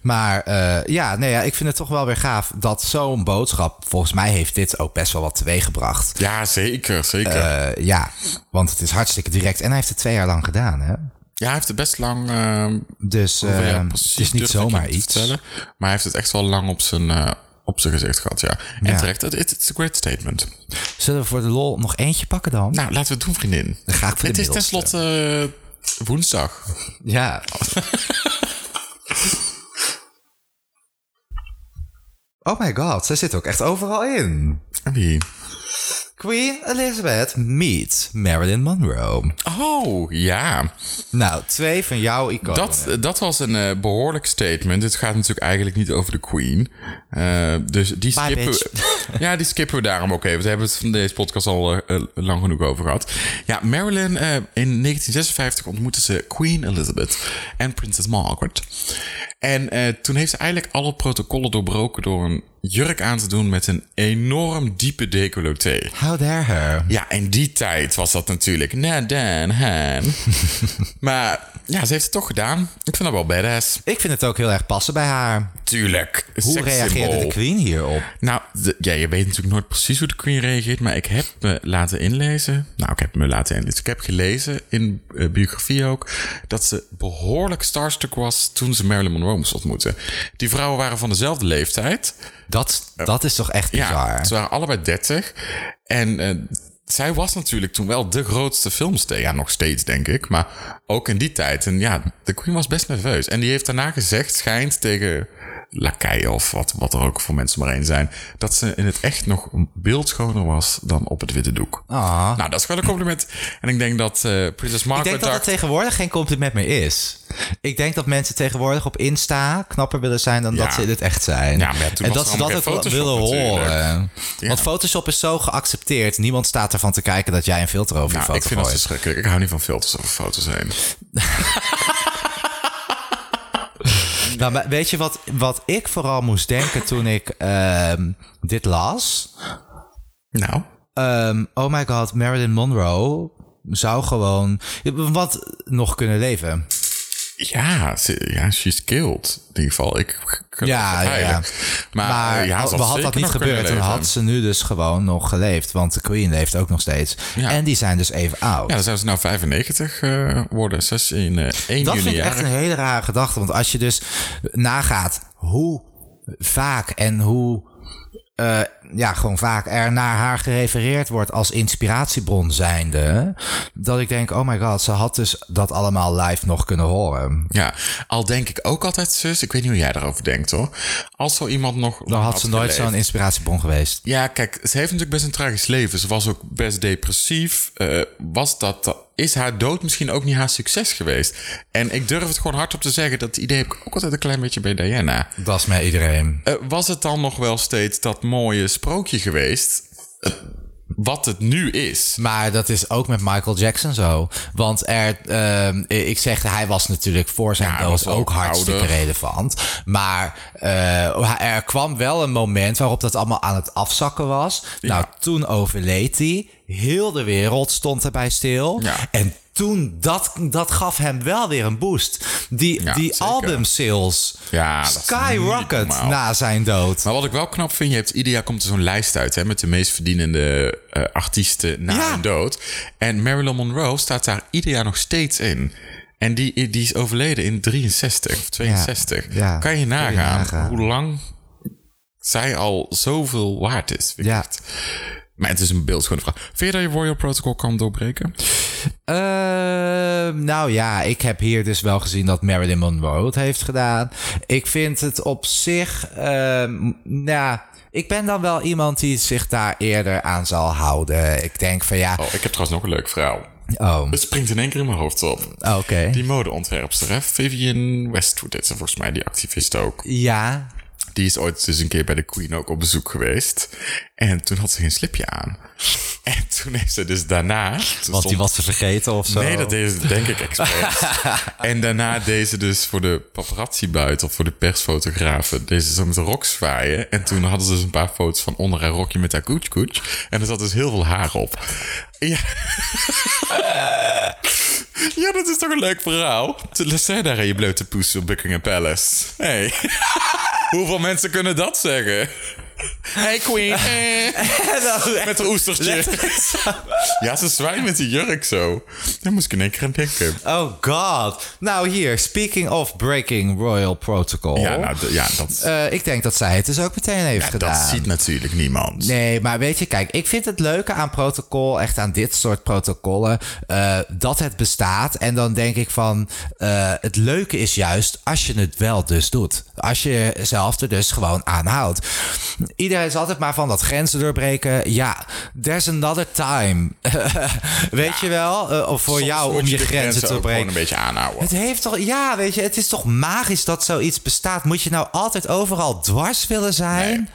[SPEAKER 3] maar eh, ja, nee, ja, ik vind het toch wel weer gaaf dat zo'n boodschap. Volgens mij heeft dit ook best wel wat teweeggebracht.
[SPEAKER 2] Ja, zeker, zeker.
[SPEAKER 3] Eh, ja, want het is hartstikke direct. En hij heeft het twee jaar lang gedaan, hè?
[SPEAKER 2] ja, hij heeft het best lang... ehm,
[SPEAKER 3] Dus eh,
[SPEAKER 2] ja, precies,
[SPEAKER 3] het is niet
[SPEAKER 2] durf ik
[SPEAKER 3] zomaar
[SPEAKER 2] je te
[SPEAKER 3] iets.
[SPEAKER 2] vertellen. Maar hij heeft het echt wel lang op zijn, eh, op zijn gezicht gehad, ja. En
[SPEAKER 3] Ja.
[SPEAKER 2] terecht, het it, it's a great statement.
[SPEAKER 3] Zullen we voor de lol nog eentje pakken dan?
[SPEAKER 2] Nou, laten we het doen, vriendin.
[SPEAKER 3] Dan ga ik voor de
[SPEAKER 2] het is
[SPEAKER 3] middelste.
[SPEAKER 2] tenslotte eh, woensdag.
[SPEAKER 3] Ja. oh my god, zij zit ook echt overal in.
[SPEAKER 2] Wie?
[SPEAKER 3] Queen Elizabeth meet Marilyn Monroe.
[SPEAKER 2] Oh, ja.
[SPEAKER 3] Nou, twee van jouw iconen.
[SPEAKER 2] Dat, dat was een eh, behoorlijk statement. Het gaat natuurlijk eigenlijk niet over de Queen. Eh, dus die
[SPEAKER 3] Bye,
[SPEAKER 2] skippen, we, ja, die skippen we daarom ook even. Daar hebben we het van deze podcast al eh, eh, lang genoeg over gehad. Ja, Marilyn, eh, in 1956 ontmoette ze Queen Elizabeth en Princess Margaret. En eh, toen heeft ze eigenlijk alle protocollen doorbroken door een jurk aan te doen met een enorm diepe decolleté.
[SPEAKER 3] How dare her.
[SPEAKER 2] Ja, in die tijd was dat natuurlijk. Nah, Dan, Han. maar ja, ze heeft het toch gedaan. Ik vind dat wel badass.
[SPEAKER 3] Ik vind het ook heel erg passen bij haar.
[SPEAKER 2] Tuurlijk.
[SPEAKER 3] Hoe reageerde de queen hierop?
[SPEAKER 2] Nou, de- ja, je weet natuurlijk nooit precies hoe de Queen reageert, maar ik heb me laten inlezen. Nou, ik heb me laten inlezen. Ik heb gelezen in eh, biografie ook dat ze behoorlijk starstruck was toen ze Marilyn Monroe moest ontmoeten. Die vrouwen waren van dezelfde leeftijd.
[SPEAKER 3] Dat, dat is toch echt bizar?
[SPEAKER 2] Ja, ze waren allebei 30. En eh, zij was natuurlijk toen wel de grootste filmster. Ja, nog steeds, denk ik. Maar ook in die tijd. En ja, de Queen was best nerveus. En die heeft daarna gezegd, schijnt tegen Lakai of wat, wat er ook voor mensen maar één zijn, dat ze in het echt nog een beeld schoner was dan op het witte doek.
[SPEAKER 3] Ah.
[SPEAKER 2] Nou, dat is gewoon een compliment. En ik denk dat eh Princess
[SPEAKER 3] Ik
[SPEAKER 2] Margaret
[SPEAKER 3] denk dat dat
[SPEAKER 2] dacht,
[SPEAKER 3] tegenwoordig geen compliment meer is. Ik denk dat mensen tegenwoordig op Insta knapper willen zijn dan dat
[SPEAKER 2] Ja.
[SPEAKER 3] ze in het echt zijn.
[SPEAKER 2] Ja, maar ja, toen
[SPEAKER 3] en
[SPEAKER 2] was er
[SPEAKER 3] dat ze
[SPEAKER 2] allemaal
[SPEAKER 3] dat ook
[SPEAKER 2] geen
[SPEAKER 3] wel willen
[SPEAKER 2] Photoshop
[SPEAKER 3] horen.
[SPEAKER 2] Ja.
[SPEAKER 3] Want Photoshop is zo geaccepteerd. Niemand staat ervan te kijken dat jij een filter over je
[SPEAKER 2] nou, ik
[SPEAKER 3] foto
[SPEAKER 2] vind dat
[SPEAKER 3] gooit.
[SPEAKER 2] verschrikkelijk. Ik hou niet van filters over foto's heen.
[SPEAKER 3] Nou, maar weet je wat, wat ik vooral moest denken toen ik ehm, dit las?
[SPEAKER 2] Nou,
[SPEAKER 3] Ehm, oh my god, Marilyn Monroe zou gewoon wat nog kunnen leven.
[SPEAKER 2] Ja, ze, ja, she's killed. In ieder geval, ik kan
[SPEAKER 3] Ja,
[SPEAKER 2] het
[SPEAKER 3] ja, ja.
[SPEAKER 2] verteidigen. Maar,
[SPEAKER 3] Maar
[SPEAKER 2] eh, ja, ze
[SPEAKER 3] had, had
[SPEAKER 2] zeker
[SPEAKER 3] dat niet
[SPEAKER 2] nog kunnen
[SPEAKER 3] gebeurd, dan
[SPEAKER 2] leven.
[SPEAKER 3] had ze nu dus gewoon nog geleefd. Want de Queen leeft ook nog steeds.
[SPEAKER 2] Ja.
[SPEAKER 3] En die zijn dus even oud.
[SPEAKER 2] Ja, dan zijn ze nou 95 eh worden. Ze is in eh 1
[SPEAKER 3] dat
[SPEAKER 2] juni
[SPEAKER 3] vind ik echt
[SPEAKER 2] jarig.
[SPEAKER 3] een hele rare gedachte. Want als je dus nagaat hoe vaak en hoe... eh, ja, gewoon vaak er naar haar gerefereerd wordt als inspiratiebron zijnde. Dat ik denk, oh my god, ze had dus dat allemaal live nog kunnen horen.
[SPEAKER 2] Ja, al denk ik ook altijd, zus, ik weet niet hoe jij daarover denkt hoor. Als zo iemand nog.
[SPEAKER 3] Dan had ze nooit
[SPEAKER 2] geleefd.
[SPEAKER 3] zo'n inspiratiebron geweest.
[SPEAKER 2] Ja, kijk, ze heeft natuurlijk best een tragisch leven. Ze was ook best depressief. Eh, was dat, is haar dood misschien ook niet haar succes geweest? En ik durf het gewoon hardop te zeggen. Dat idee heb ik ook altijd een klein beetje bij Diana.
[SPEAKER 3] Dat is met iedereen.
[SPEAKER 2] Eh, was het dan nog wel steeds dat mooie sprookje geweest? eh, wat het nu is.
[SPEAKER 3] Maar dat is ook met Michael Jackson zo. Want er, ehm, ik zeg, hij was natuurlijk voor zijn
[SPEAKER 2] Ja, hij
[SPEAKER 3] dood
[SPEAKER 2] was wel
[SPEAKER 3] ook hartstikke
[SPEAKER 2] ouder.
[SPEAKER 3] relevant. Maar eh, er kwam wel een moment waarop dat allemaal aan het afzakken was. Nou, toen overleed hij. Heel de wereld stond erbij stil.
[SPEAKER 2] Ja.
[SPEAKER 3] En toen, dat, dat gaf hem wel weer een boost. Die,
[SPEAKER 2] Ja,
[SPEAKER 3] die
[SPEAKER 2] zeker.
[SPEAKER 3] album sales
[SPEAKER 2] Ja, dat is niet
[SPEAKER 3] skyrocket Nou.
[SPEAKER 2] normaal.
[SPEAKER 3] na zijn dood.
[SPEAKER 2] Maar wat ik wel knap vind, je hebt ieder jaar komt er zo'n lijst uit hè, met de meest verdienende eh, artiesten na
[SPEAKER 3] Ja.
[SPEAKER 2] hun dood. En Marilyn Monroe staat daar ieder jaar nog steeds in. En die, die is overleden in 63 of 62.
[SPEAKER 3] ja.
[SPEAKER 2] kan je nagaan,
[SPEAKER 3] nagaan.
[SPEAKER 2] hoe lang zij al zoveel waard is. vind ik
[SPEAKER 3] Ja.
[SPEAKER 2] echt. Maar het is een beeldschone vraag. Vind je dat je Royal Protocol kan doorbreken?
[SPEAKER 3] Ehm, nou ja, ik heb hier dus wel gezien dat Marilyn Monroe het heeft gedaan. Ik vind het op zich. ehm, nou, ja, ik ben dan wel iemand die zich daar eerder aan zal houden. Ik denk van ja.
[SPEAKER 2] Oh, ik heb trouwens nog een leuk verhaal.
[SPEAKER 3] Oh,
[SPEAKER 2] Het springt in één keer in mijn hoofd op.
[SPEAKER 3] oké.
[SPEAKER 2] Die modeontwerpster, hè? Vivian Westwood, dat is volgens mij die activist ook.
[SPEAKER 3] Ja.
[SPEAKER 2] Die is ooit dus een keer bij de Queen ook op bezoek geweest. En toen had ze geen slipje aan. En toen heeft ze dus daarna... toen
[SPEAKER 3] Want die
[SPEAKER 2] stond-
[SPEAKER 3] was ze vergeten of zo.
[SPEAKER 2] Nee, dat deed ze denk ik expres. en daarna deed ze dus voor de paparazzi buiten... of voor de persfotografen... deed ze zo met een rok zwaaien. En toen hadden ze dus een paar foto's van onder haar rokje... met haar koetskoets. En er zat dus heel veel haar op. Ja... Ja, dat is toch een leuk verhaal? Toen zei daar in je blote poes op Buckingham Palace. Hey. Hoeveel mensen kunnen dat zeggen? Hey queen. eh. Met een oestertje. Ja, ze zwaait met die jurk zo. Daar moest ik in één keer aan denken.
[SPEAKER 3] Oh god. Nou hier, speaking of breaking royal protocol.
[SPEAKER 2] Ja, nou, d- ja dat,
[SPEAKER 3] Eh, ik denk dat zij het dus ook meteen heeft gedaan.
[SPEAKER 2] dat ziet natuurlijk niemand.
[SPEAKER 3] Nee, maar weet je, kijk, ik vind het leuke aan protocol, echt aan dit soort protocollen, eh, dat het bestaat. En dan denk ik van, eh, het leuke is juist als je het wel dus doet. Als je zelf er dus gewoon aan houdt. Iedereen is altijd maar van dat grenzen doorbreken. Ja, there's another time. weet je wel? Eh, of voor
[SPEAKER 2] Soms
[SPEAKER 3] jou
[SPEAKER 2] moet
[SPEAKER 3] om je
[SPEAKER 2] de
[SPEAKER 3] grenzen
[SPEAKER 2] ook
[SPEAKER 3] te
[SPEAKER 2] gewoon
[SPEAKER 3] doorbreken.
[SPEAKER 2] een beetje aanhouden.
[SPEAKER 3] Het heeft toch, ja, weet je, het is toch magisch dat zoiets bestaat. Moet je nou altijd overal dwars willen zijn?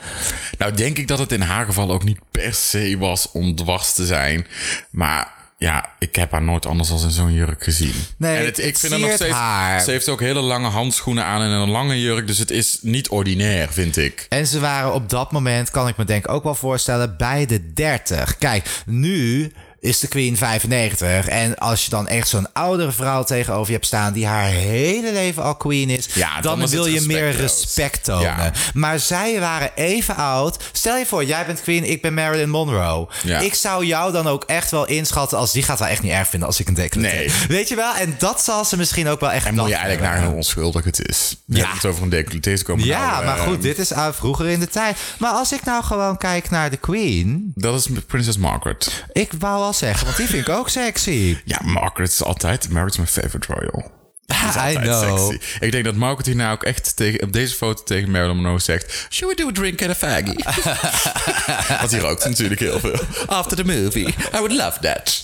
[SPEAKER 2] Nou, denk ik dat het in haar geval ook niet per se was om dwars te zijn. Maar ja, ik heb haar nooit anders dan in zo'n jurk gezien.
[SPEAKER 3] Nee,
[SPEAKER 2] en het, ik
[SPEAKER 3] het
[SPEAKER 2] vind haar nog
[SPEAKER 3] siert
[SPEAKER 2] steeds.
[SPEAKER 3] haar.
[SPEAKER 2] Ze heeft ook hele lange handschoenen aan en een lange jurk. Dus het is niet ordinair, vind ik.
[SPEAKER 3] En ze waren op dat moment, kan ik me denk ik ook wel voorstellen, bij de 30. Kijk, nu is de Queen 95. En als je dan echt zo'n oudere vrouw tegenover je hebt staan... die haar hele leven al Queen is...
[SPEAKER 2] Ja,
[SPEAKER 3] dan,
[SPEAKER 2] dan is
[SPEAKER 3] wil
[SPEAKER 2] het
[SPEAKER 3] je meer
[SPEAKER 2] respectloos.
[SPEAKER 3] respect tonen.
[SPEAKER 2] Ja.
[SPEAKER 3] Maar zij waren even oud. Stel je voor, jij bent Queen, ik ben Marilyn Monroe.
[SPEAKER 2] Ja.
[SPEAKER 3] Ik zou jou dan ook echt wel inschatten... als die gaat wel echt niet erg vinden als ik een decolleté.
[SPEAKER 2] Nee.
[SPEAKER 3] Weet je wel? En dat zal ze misschien ook wel echt...
[SPEAKER 2] En moet je
[SPEAKER 3] lachen.
[SPEAKER 2] eigenlijk naar hoe onschuldig het is. We
[SPEAKER 3] Ja.
[SPEAKER 2] hebben het over een decolleté te komen.
[SPEAKER 3] Ja,
[SPEAKER 2] Nou,
[SPEAKER 3] maar
[SPEAKER 2] eh,
[SPEAKER 3] goed, dit is aan vroeger in de tijd. Maar als ik nou gewoon kijk naar de Queen.
[SPEAKER 2] Dat is Princess Margaret.
[SPEAKER 3] Ik wou wel zeggen, want die vind ik ook sexy.
[SPEAKER 2] Ja, Margaret is altijd. Margaret is mijn favorite royal.
[SPEAKER 3] Ah, I
[SPEAKER 2] Altijd
[SPEAKER 3] know.
[SPEAKER 2] sexy. Ik denk dat Margaret hierna ook echt tegen, op deze foto tegen Marilyn Monroe zegt... Should we do a drink and a faggie? Want die rookt natuurlijk heel veel. After the movie. I would love that.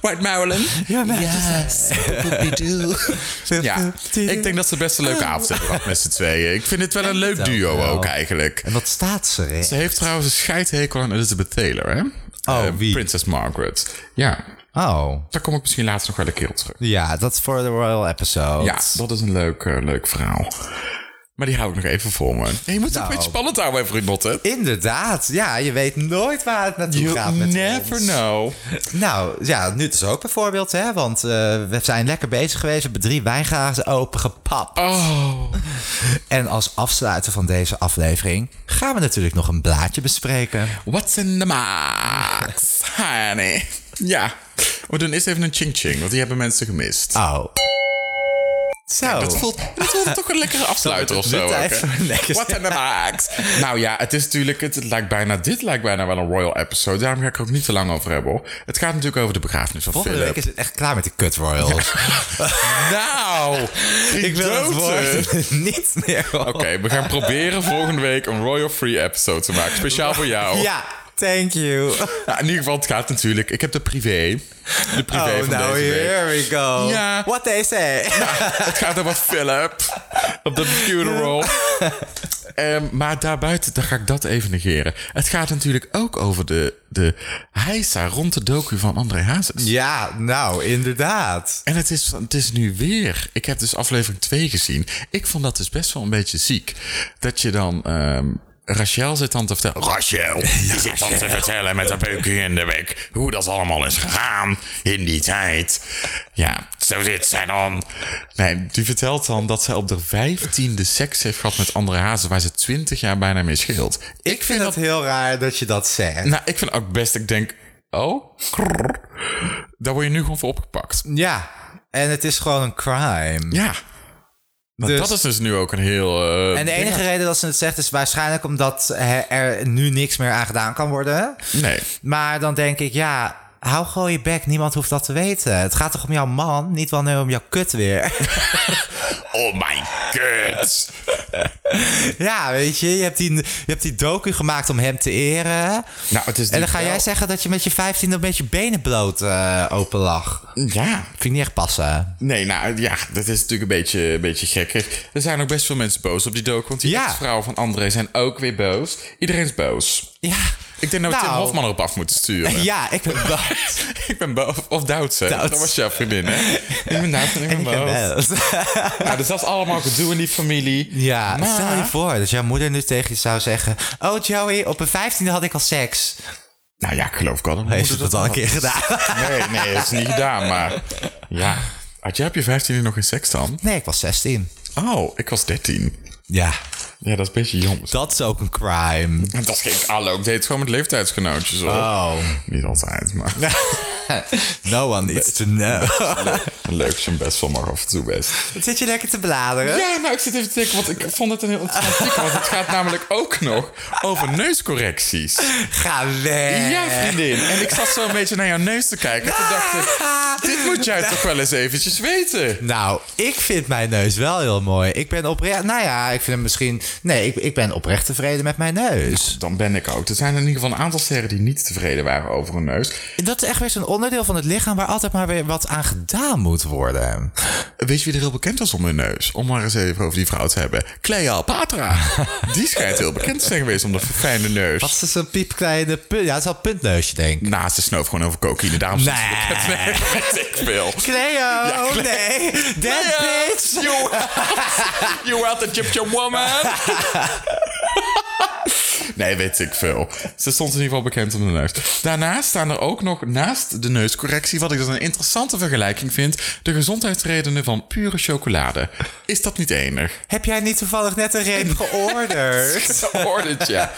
[SPEAKER 2] Right, Marilyn?
[SPEAKER 3] Ja, maar-
[SPEAKER 2] yes, we do. Ja, ik denk dat ze best een leuke avond hebben gehad met z'n tweeën. Ik vind het wel een leuk
[SPEAKER 3] ook
[SPEAKER 2] duo
[SPEAKER 3] wel.
[SPEAKER 2] ook eigenlijk.
[SPEAKER 3] En wat staat ze erin?
[SPEAKER 2] Ze heeft trouwens een scheidhekel aan Elizabeth Taylor, hè?
[SPEAKER 3] Oh,
[SPEAKER 2] Eh,
[SPEAKER 3] wie?
[SPEAKER 2] Princess Margaret. Ja,
[SPEAKER 3] Oh.
[SPEAKER 2] daar kom ik misschien later nog wel een keer op terug.
[SPEAKER 3] Ja, dat is voor de Royal Episode.
[SPEAKER 2] Ja, dat is een leuk, eh, leuk verhaal. Maar die hou ik nog even voor me. Hey, je moet het
[SPEAKER 3] Nou.
[SPEAKER 2] een beetje spannend houden, hè, Notte.
[SPEAKER 3] Inderdaad. Ja, je weet nooit waar het naartoe gaat met ons.
[SPEAKER 2] know.
[SPEAKER 3] Nou, ja, nu dus ook bijvoorbeeld, hè. Want eh, we zijn lekker bezig geweest. We hebben drie wijngazen opengepapt.
[SPEAKER 2] Oh,
[SPEAKER 3] En als afsluiter van deze aflevering gaan we natuurlijk nog een blaadje bespreken.
[SPEAKER 2] what's in the box, honey? Ja, we doen eerst even een ching-ching, want die hebben mensen gemist.
[SPEAKER 3] Oh. Zo.
[SPEAKER 2] Dat voelt, dat voelt toch een lekkere afsluiter of
[SPEAKER 3] het
[SPEAKER 2] zo.
[SPEAKER 3] dit
[SPEAKER 2] ook, hè?
[SPEAKER 3] even lekker
[SPEAKER 2] What's in the box? Nou ja, het is natuurlijk, het, het lijkt bijna, dit lijkt bijna wel een royal episode. Daarom ga ik er ook niet te lang over hebben. hoor. Het gaat natuurlijk over de begrafenis van
[SPEAKER 3] Volgende
[SPEAKER 2] Philip.
[SPEAKER 3] week is het echt klaar met de Cut Royals.
[SPEAKER 2] Nou,
[SPEAKER 3] Ik wil het
[SPEAKER 2] idioten.
[SPEAKER 3] woord niet meer horen.
[SPEAKER 2] Oké, we gaan proberen volgende week een Royal Free episode te maken. Speciaal voor jou.
[SPEAKER 3] Ja, thank you.
[SPEAKER 2] Nou, in ieder geval, het gaat natuurlijk. Ik heb de privé. De privé
[SPEAKER 3] Oh,
[SPEAKER 2] van
[SPEAKER 3] now
[SPEAKER 2] deze week.
[SPEAKER 3] here we go.
[SPEAKER 2] Ja.
[SPEAKER 3] What they say.
[SPEAKER 2] Het gaat over Philip. Op de funeral. Ehm, maar daarbuiten, dan ga ik dat even negeren. Het gaat natuurlijk ook over de, de heisa rond de docu van André Hazes.
[SPEAKER 3] Ja, nou, inderdaad.
[SPEAKER 2] En het is, het is nu weer. Ik heb dus aflevering 2 gezien. Ik vond dat dus best wel een beetje ziek. Dat je dan. ehm Rachel zit dan te vertellen. Rachel die zit dan te vertellen met een peukje in de bek. Hoe dat allemaal is gegaan in die tijd. Ja, zo zit zij dan. Nee, die vertelt dan dat zij op de vijftiende seks heeft gehad met andere hazen. Waar ze twintig jaar bijna mee scheelt.
[SPEAKER 3] Ik, vind, het heel raar dat je dat zegt.
[SPEAKER 2] Nou, ik vind het ook best. Ik denk. Oh, krrr. daar word je nu gewoon voor opgepakt.
[SPEAKER 3] Ja, en het is gewoon een crime.
[SPEAKER 2] Ja. Maar
[SPEAKER 3] Dus-
[SPEAKER 2] dat is dus nu ook een heel. eh,
[SPEAKER 3] En de enige reden dat ze het zegt is waarschijnlijk omdat hè, er nu niks meer aan gedaan kan worden.
[SPEAKER 2] Nee.
[SPEAKER 3] Maar dan denk ik, ja, hou gewoon je bek. Niemand hoeft dat te weten. Het gaat toch om jouw man, niet wel nee, om jouw kut weer.
[SPEAKER 2] Oh mijn god.
[SPEAKER 3] Ja, weet je, je hebt, die, je hebt die docu gemaakt om hem te eren.
[SPEAKER 2] Nou, het is
[SPEAKER 3] En dan
[SPEAKER 2] natuurlijk
[SPEAKER 3] ga jij
[SPEAKER 2] wel-
[SPEAKER 3] zeggen dat je met je 15 een beetje benen bloot eh, open lag.
[SPEAKER 2] Ja.
[SPEAKER 3] Vind ik niet echt passen.
[SPEAKER 2] Nee, nou ja, dat is natuurlijk een beetje, een beetje gekker. Er zijn ook best veel mensen boos op die docu. Want die
[SPEAKER 3] Ja.
[SPEAKER 2] vrouwen van André zijn ook weer boos. Iedereen is boos.
[SPEAKER 3] Ja.
[SPEAKER 2] Ik denk dat we
[SPEAKER 3] Nou.
[SPEAKER 2] Tim Hofman erop af moeten sturen.
[SPEAKER 3] Ja, ik ben boos.
[SPEAKER 2] Ik ben boos. Of Doutse.
[SPEAKER 3] Douds.
[SPEAKER 2] Dat was jouw vriendin, hè? Ik ben Doutse en ik ben
[SPEAKER 3] Ik ben
[SPEAKER 2] boos.
[SPEAKER 3] boos.
[SPEAKER 2] Nou, dus dat is allemaal gedoe in die familie.
[SPEAKER 3] Ja,
[SPEAKER 2] Maar-
[SPEAKER 3] stel je voor dat jouw moeder nu tegen je zou zeggen... Oh Joey, op een 15e had ik al seks.
[SPEAKER 2] Nou ja, ik geloof ik al. Hoe
[SPEAKER 3] Heeft
[SPEAKER 2] doet
[SPEAKER 3] ze dat al een
[SPEAKER 2] dan?
[SPEAKER 3] keer gedaan?
[SPEAKER 2] Nee, nee, dat is niet gedaan, maar... Ja. Had jij op je 15 nog geen seks dan?
[SPEAKER 3] Nee, ik was 16.
[SPEAKER 2] Oh, ik was 13.
[SPEAKER 3] Ja,
[SPEAKER 2] Ja, dat is een beetje jong.
[SPEAKER 3] dat is ook een crime.
[SPEAKER 2] Dat is geen hallo. Ik deed het gewoon met leeftijdsgenootjes, hoor.
[SPEAKER 3] Oh,
[SPEAKER 2] Niet altijd, maar
[SPEAKER 3] no one needs to know.
[SPEAKER 2] leuk als je hem best wel mag af en toe best.
[SPEAKER 3] Wat zit je lekker te bladeren?
[SPEAKER 2] Ja, nou, ik zit even te denken, want ik vond het een heel interessant artikel. Want het gaat namelijk ook nog over neuscorrecties.
[SPEAKER 3] Ga weg.
[SPEAKER 2] Ja, vriendin. En ik zat zo een beetje naar jouw neus te kijken. En toen dacht ik, dit moet jij toch wel eens eventjes weten.
[SPEAKER 3] Nou, ik vind mijn neus wel heel mooi. Ik ben oprecht. Nou ja, ik vind hem misschien. Nee, ik, ik ben oprecht tevreden met mijn neus.
[SPEAKER 2] Dan ben ik ook. Er zijn in ieder geval een aantal sterren die niet tevreden waren over hun neus.
[SPEAKER 3] Dat is echt weer zo'n onderdeel van het lichaam waar altijd maar weer wat aan gedaan moet worden.
[SPEAKER 2] Weet je wie er heel bekend was om hun neus? Om maar eens even over die vrouw te hebben. Cleopatra. die schijnt heel bekend te zijn geweest om de fijne neus.
[SPEAKER 3] Wat is een piepkleine punt? Ja, het is wel een puntneusje, denk ik.
[SPEAKER 2] Naast de snoof gewoon over cocaïne. Daarom
[SPEAKER 3] Nee.
[SPEAKER 2] ik veel.
[SPEAKER 3] Cleo,
[SPEAKER 2] Cleo.
[SPEAKER 3] oh,
[SPEAKER 2] oh.
[SPEAKER 3] nee. That bitch.
[SPEAKER 2] You, you out the gypsy woman. Nee, weet ik veel. Ze stond in ieder geval bekend om de neus. Daarnaast staan er ook nog, naast de neuscorrectie, wat ik dus een interessante vergelijking vind, de gezondheidsredenen van pure chocolade. Is dat niet enig?
[SPEAKER 3] Heb jij niet toevallig net een reep georderd?
[SPEAKER 2] Ordert, ja.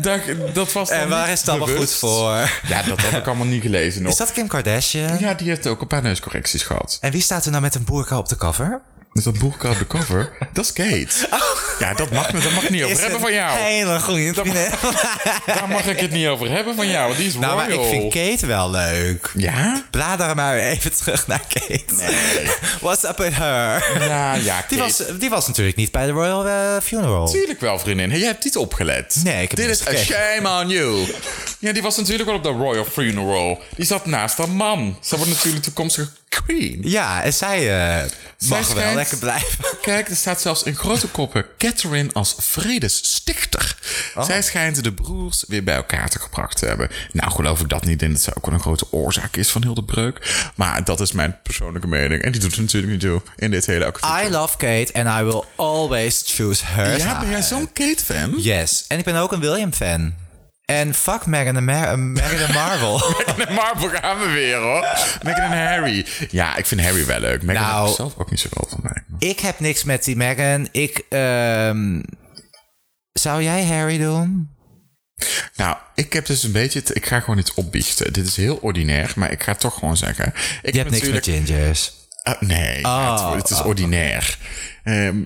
[SPEAKER 2] Dat, dat was dan
[SPEAKER 3] En waar
[SPEAKER 2] niet
[SPEAKER 3] is het allemaal
[SPEAKER 2] bewust.
[SPEAKER 3] goed voor?
[SPEAKER 2] Ja, dat heb ik allemaal niet gelezen nog.
[SPEAKER 3] Is dat Kim Kardashian?
[SPEAKER 2] Ja, die heeft ook een paar neuscorrecties gehad.
[SPEAKER 3] En wie staat er nou met een boerka op de cover?
[SPEAKER 2] Met dat boek op de cover, dat is Kate.
[SPEAKER 3] Oh.
[SPEAKER 2] Ja, dat mag, dat mag ik niet over hebben van jou.
[SPEAKER 3] Hele goede vriendin.
[SPEAKER 2] Daar mag ik het niet over hebben van jou. want Die is
[SPEAKER 3] Nou, maar
[SPEAKER 2] royal.
[SPEAKER 3] ik vind Kate wel leuk.
[SPEAKER 2] Ja?
[SPEAKER 3] Blader maar weer even terug naar Kate. What's up with her?
[SPEAKER 2] Nou ja, Kate.
[SPEAKER 3] Die was, die was natuurlijk niet bij de Royal eh, Funeral.
[SPEAKER 2] Natuurlijk wel, vriendin. Hey, jij hebt niet opgelet.
[SPEAKER 3] Nee, ik heb
[SPEAKER 2] Dit
[SPEAKER 3] niet
[SPEAKER 2] is a
[SPEAKER 3] gekeken.
[SPEAKER 2] shame on you. Ja, die was natuurlijk wel op de Royal Funeral. Die zat naast haar man. Ze wordt natuurlijk toekomstige queen.
[SPEAKER 3] Ja, en zij eh, mag wel
[SPEAKER 2] schijnt-
[SPEAKER 3] lekker blijven.
[SPEAKER 2] Kijk, er staat zelfs in grote koppen Catherine als vredesstichter.
[SPEAKER 3] Oh.
[SPEAKER 2] Zij schijnt de broers weer bij elkaar te gebracht te hebben. Nou, geloof ik dat niet in. Dat ze ook wel een grote oorzaak is van heel de breuk. Maar dat is mijn persoonlijke mening. En die doet ze natuurlijk niet toe in dit hele actief.
[SPEAKER 3] I love Kate and I will always choose her.
[SPEAKER 2] Ja, ben jij zo'n Kate-fan?
[SPEAKER 3] Yes. En ik ben ook een William-fan. En fuck Meghan en Mar- eh, Meghan en Marvel.
[SPEAKER 2] Meghan Marvel gaan we weer, hoor. Meghan en Harry. Ja, ik vind Harry wel leuk. Meghan
[SPEAKER 3] Nou.
[SPEAKER 2] is zelf ook niet zoveel van mij.
[SPEAKER 3] ik heb niks met die Meghan. Ik, ehm, zou jij Harry doen?
[SPEAKER 2] Nou, ik heb dus een beetje... het- ik ga gewoon iets opbiechten. Dit is heel ordinair, maar ik ga het toch gewoon zeggen. Ik heb
[SPEAKER 3] Je hebt niks
[SPEAKER 2] natuurlijk-
[SPEAKER 3] met gingers.
[SPEAKER 2] Ah, nee, ja, het, het is ordinair. Ehm,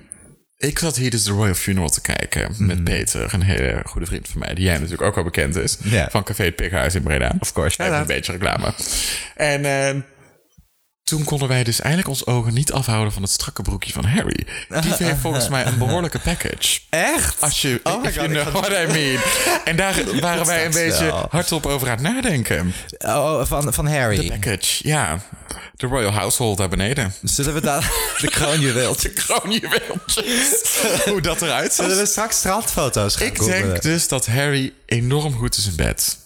[SPEAKER 2] ik zat hier dus de Royal Funeral te kijken
[SPEAKER 3] Mhm.
[SPEAKER 2] met Peter, een hele goede vriend van mij, die jij natuurlijk ook wel bekend is.
[SPEAKER 3] Ja.
[SPEAKER 2] Van Café het Pighuis in Breda. Of course. Even een beetje reclame. En ehm, toen konden wij dus eigenlijk ons ogen niet afhouden van het strakke broekje van Harry. Die heeft volgens mij een behoorlijke package.
[SPEAKER 3] Echt?
[SPEAKER 2] Als je,
[SPEAKER 3] Oh my
[SPEAKER 2] if
[SPEAKER 3] God,
[SPEAKER 2] you
[SPEAKER 3] ik
[SPEAKER 2] know what I mean. En daar waren wij een
[SPEAKER 3] staat
[SPEAKER 2] beetje
[SPEAKER 3] wel.
[SPEAKER 2] hardop over aan het nadenken.
[SPEAKER 3] Oh, van, van Harry.
[SPEAKER 2] Package, ja. De Royal Household daar beneden.
[SPEAKER 3] Zullen we dan de kroonjuweeltje?
[SPEAKER 2] kroonjuweeltjes. Hoe dat eruit ziet.
[SPEAKER 3] Zullen we straks strandfoto's gaan
[SPEAKER 2] Ik
[SPEAKER 3] googlen?
[SPEAKER 2] denk dus dat Harry enorm goed is in bed.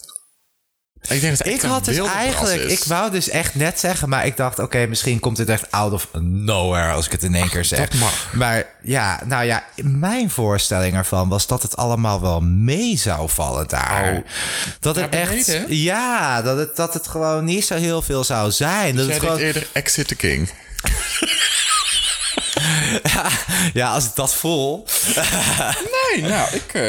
[SPEAKER 2] Ik denk dat het
[SPEAKER 3] Ik
[SPEAKER 2] echt een
[SPEAKER 3] had dus
[SPEAKER 2] wilde bras
[SPEAKER 3] eigenlijk,
[SPEAKER 2] is.
[SPEAKER 3] ik wou dus echt net zeggen, maar ik dacht, oké, misschien komt dit echt out of nowhere als ik het in één keer zeg.
[SPEAKER 2] dat mag.
[SPEAKER 3] Maar ja, nou ja, mijn voorstelling ervan was dat het allemaal wel mee zou vallen daar.
[SPEAKER 2] Oh,
[SPEAKER 3] dat
[SPEAKER 2] daar
[SPEAKER 3] het echt,
[SPEAKER 2] beneden?
[SPEAKER 3] ja, dat het, dat het gewoon niet zo heel veel zou zijn. Dat
[SPEAKER 2] Jij
[SPEAKER 3] het
[SPEAKER 2] denkt
[SPEAKER 3] gewoon,
[SPEAKER 2] eerder Exit the King.
[SPEAKER 3] ja, als ik dat voel.
[SPEAKER 2] Nee, nou, ik... eh,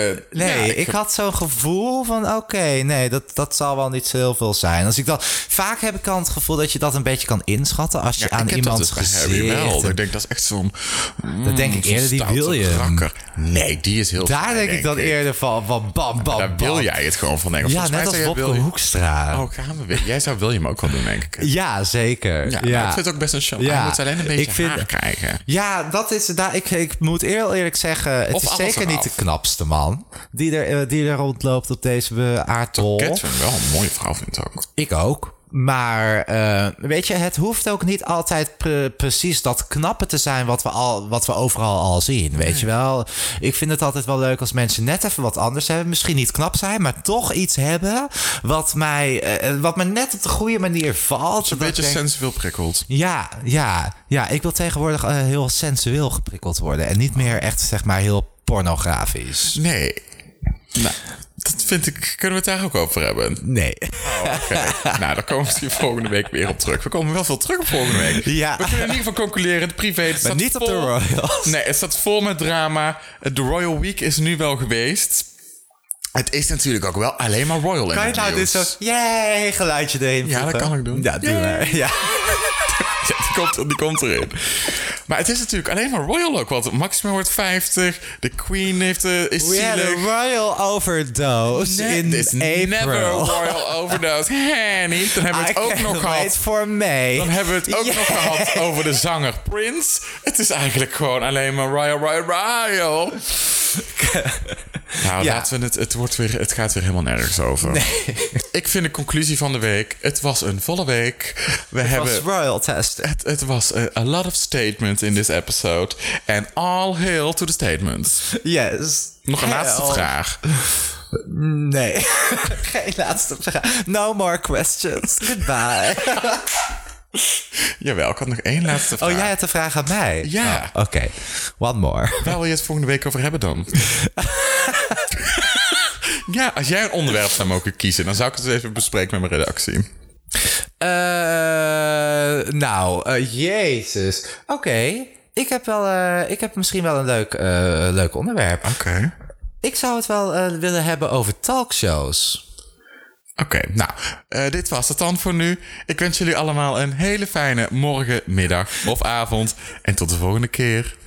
[SPEAKER 3] Nee,
[SPEAKER 2] ja,
[SPEAKER 3] ik, had zo'n gevoel van oké, nee, dat, dat zal wel niet zo heel veel zijn. Als ik dat, vaak heb ik dan het gevoel dat je dat een beetje kan inschatten als je
[SPEAKER 2] ja,
[SPEAKER 3] aan
[SPEAKER 2] ik heb
[SPEAKER 3] iemands
[SPEAKER 2] dat dus bij
[SPEAKER 3] gezicht...
[SPEAKER 2] Harry wel.
[SPEAKER 3] en-
[SPEAKER 2] Ik denk dat is echt zo'n...
[SPEAKER 3] Dat
[SPEAKER 2] Mm,
[SPEAKER 3] denk ik eerder, die
[SPEAKER 2] stoute
[SPEAKER 3] wil je.
[SPEAKER 2] rakker. Nee, die is heel
[SPEAKER 3] Daar
[SPEAKER 2] fijn,
[SPEAKER 3] denk ik dan eerder van, van bam, bam,
[SPEAKER 2] Daar
[SPEAKER 3] bam.
[SPEAKER 2] wil jij het gewoon van, denk ik.
[SPEAKER 3] Ja,
[SPEAKER 2] Volgens mij
[SPEAKER 3] net als
[SPEAKER 2] zei jij
[SPEAKER 3] Bobke
[SPEAKER 2] William-
[SPEAKER 3] Hoekstra.
[SPEAKER 2] Oh, gaan we weer. Jij zou William ook wel doen, denk ik.
[SPEAKER 3] Ja, zeker.
[SPEAKER 2] Ja,
[SPEAKER 3] Ja,
[SPEAKER 2] nou, ik vind het ook best een show.
[SPEAKER 3] Ja.
[SPEAKER 2] Hij moet alleen een beetje
[SPEAKER 3] Ik vind-
[SPEAKER 2] haar krijgen.
[SPEAKER 3] Ja, dat is, daar, ik, ik moet heel eerlijk zeggen, het
[SPEAKER 2] Of
[SPEAKER 3] is
[SPEAKER 2] alles
[SPEAKER 3] zeker
[SPEAKER 2] eraf.
[SPEAKER 3] niet de knapste man die er, eh, die er rondloopt op deze eh, aardbol.
[SPEAKER 2] Catherine wel een mooie vrouw vindt ook.
[SPEAKER 3] Ik ook. Maar eh, weet je, het hoeft ook niet altijd pre- precies dat knappe te zijn wat we, al, wat we overal al zien. Weet je wel? Ik vind het altijd wel leuk als mensen net even wat anders hebben. Misschien niet knap zijn, maar toch iets hebben wat mij, eh, wat me net op de goede manier valt.
[SPEAKER 2] Een
[SPEAKER 3] zodat ik
[SPEAKER 2] beetje
[SPEAKER 3] denk-
[SPEAKER 2] sensueel prikkeld.
[SPEAKER 3] ja, ja, ja. Ik wil tegenwoordig eh, heel sensueel geprikkeld worden. En niet meer echt, zeg maar, heel pornografisch.
[SPEAKER 2] Nee. Nou, dat vind ik... Kunnen we het daar ook over hebben?
[SPEAKER 3] Nee.
[SPEAKER 2] Oké. nou, daar komen we misschien volgende week weer op terug. We komen wel veel terug op volgende week.
[SPEAKER 3] Ja.
[SPEAKER 2] We kunnen in ieder geval concluderen. Het privé het staat
[SPEAKER 3] niet op de
[SPEAKER 2] vol-
[SPEAKER 3] Royals.
[SPEAKER 2] Nee, het staat vol met drama. De Royal Week is nu wel geweest. Het is natuurlijk ook wel alleen maar Royal in
[SPEAKER 3] Kan je
[SPEAKER 2] het
[SPEAKER 3] nou dit
[SPEAKER 2] nieuws.
[SPEAKER 3] zo... Yay, geluidje erin
[SPEAKER 2] Ja, dat
[SPEAKER 3] voegen?
[SPEAKER 2] kan ik doen.
[SPEAKER 3] Ja, doe
[SPEAKER 2] Yay.
[SPEAKER 3] maar. Ja.
[SPEAKER 2] Ja, die komt, die komt erin. Maar het is natuurlijk alleen maar Royal ook. Want Maxima wordt 50. De Queen heeft, eh, is
[SPEAKER 3] We had
[SPEAKER 2] zielig.
[SPEAKER 3] a royal overdose
[SPEAKER 2] Nee,
[SPEAKER 3] in
[SPEAKER 2] dit is
[SPEAKER 3] April.
[SPEAKER 2] never a royal overdose. Hè, niet. Dan hebben we
[SPEAKER 3] I
[SPEAKER 2] het ook nog
[SPEAKER 3] can't wait
[SPEAKER 2] gehad.
[SPEAKER 3] for May.
[SPEAKER 2] Dan hebben we het ook nog gehad over de zanger Prince. Het is eigenlijk gewoon alleen maar royal, royal, royal. Nou,
[SPEAKER 3] Ja.
[SPEAKER 2] laten we het, het, wordt weer, het gaat weer helemaal nergens over. Ik vind de conclusie van de week, het was een volle week. We hebben...
[SPEAKER 3] was Royal Test.
[SPEAKER 2] Het, het was a, a lot of statements in this episode. And all hail to the statements.
[SPEAKER 3] Yes.
[SPEAKER 2] Nog een laatste
[SPEAKER 3] Hell.
[SPEAKER 2] vraag.
[SPEAKER 3] Nee. Geen laatste vraag. No more questions. Goodbye.
[SPEAKER 2] Jawel, ik had nog één laatste vraag.
[SPEAKER 3] Oh, jij had een vraag aan mij?
[SPEAKER 2] Ja.
[SPEAKER 3] Oh, Oké. One more.
[SPEAKER 2] Waar wil je het volgende week over hebben dan? ja, als jij een onderwerp zou mogen kiezen, dan zou ik het eens even bespreken met mijn redactie.
[SPEAKER 3] Eh, nou, eh, jezus. Oké. Ik heb, wel, eh, ik heb misschien wel een leuk, eh, leuk onderwerp.
[SPEAKER 2] Oké.
[SPEAKER 3] Ik zou het wel eh, willen hebben over talkshows.
[SPEAKER 2] Oké, nou, eh, dit was het dan voor nu. Ik wens jullie allemaal een hele fijne morgen, middag of avond. En tot de volgende keer.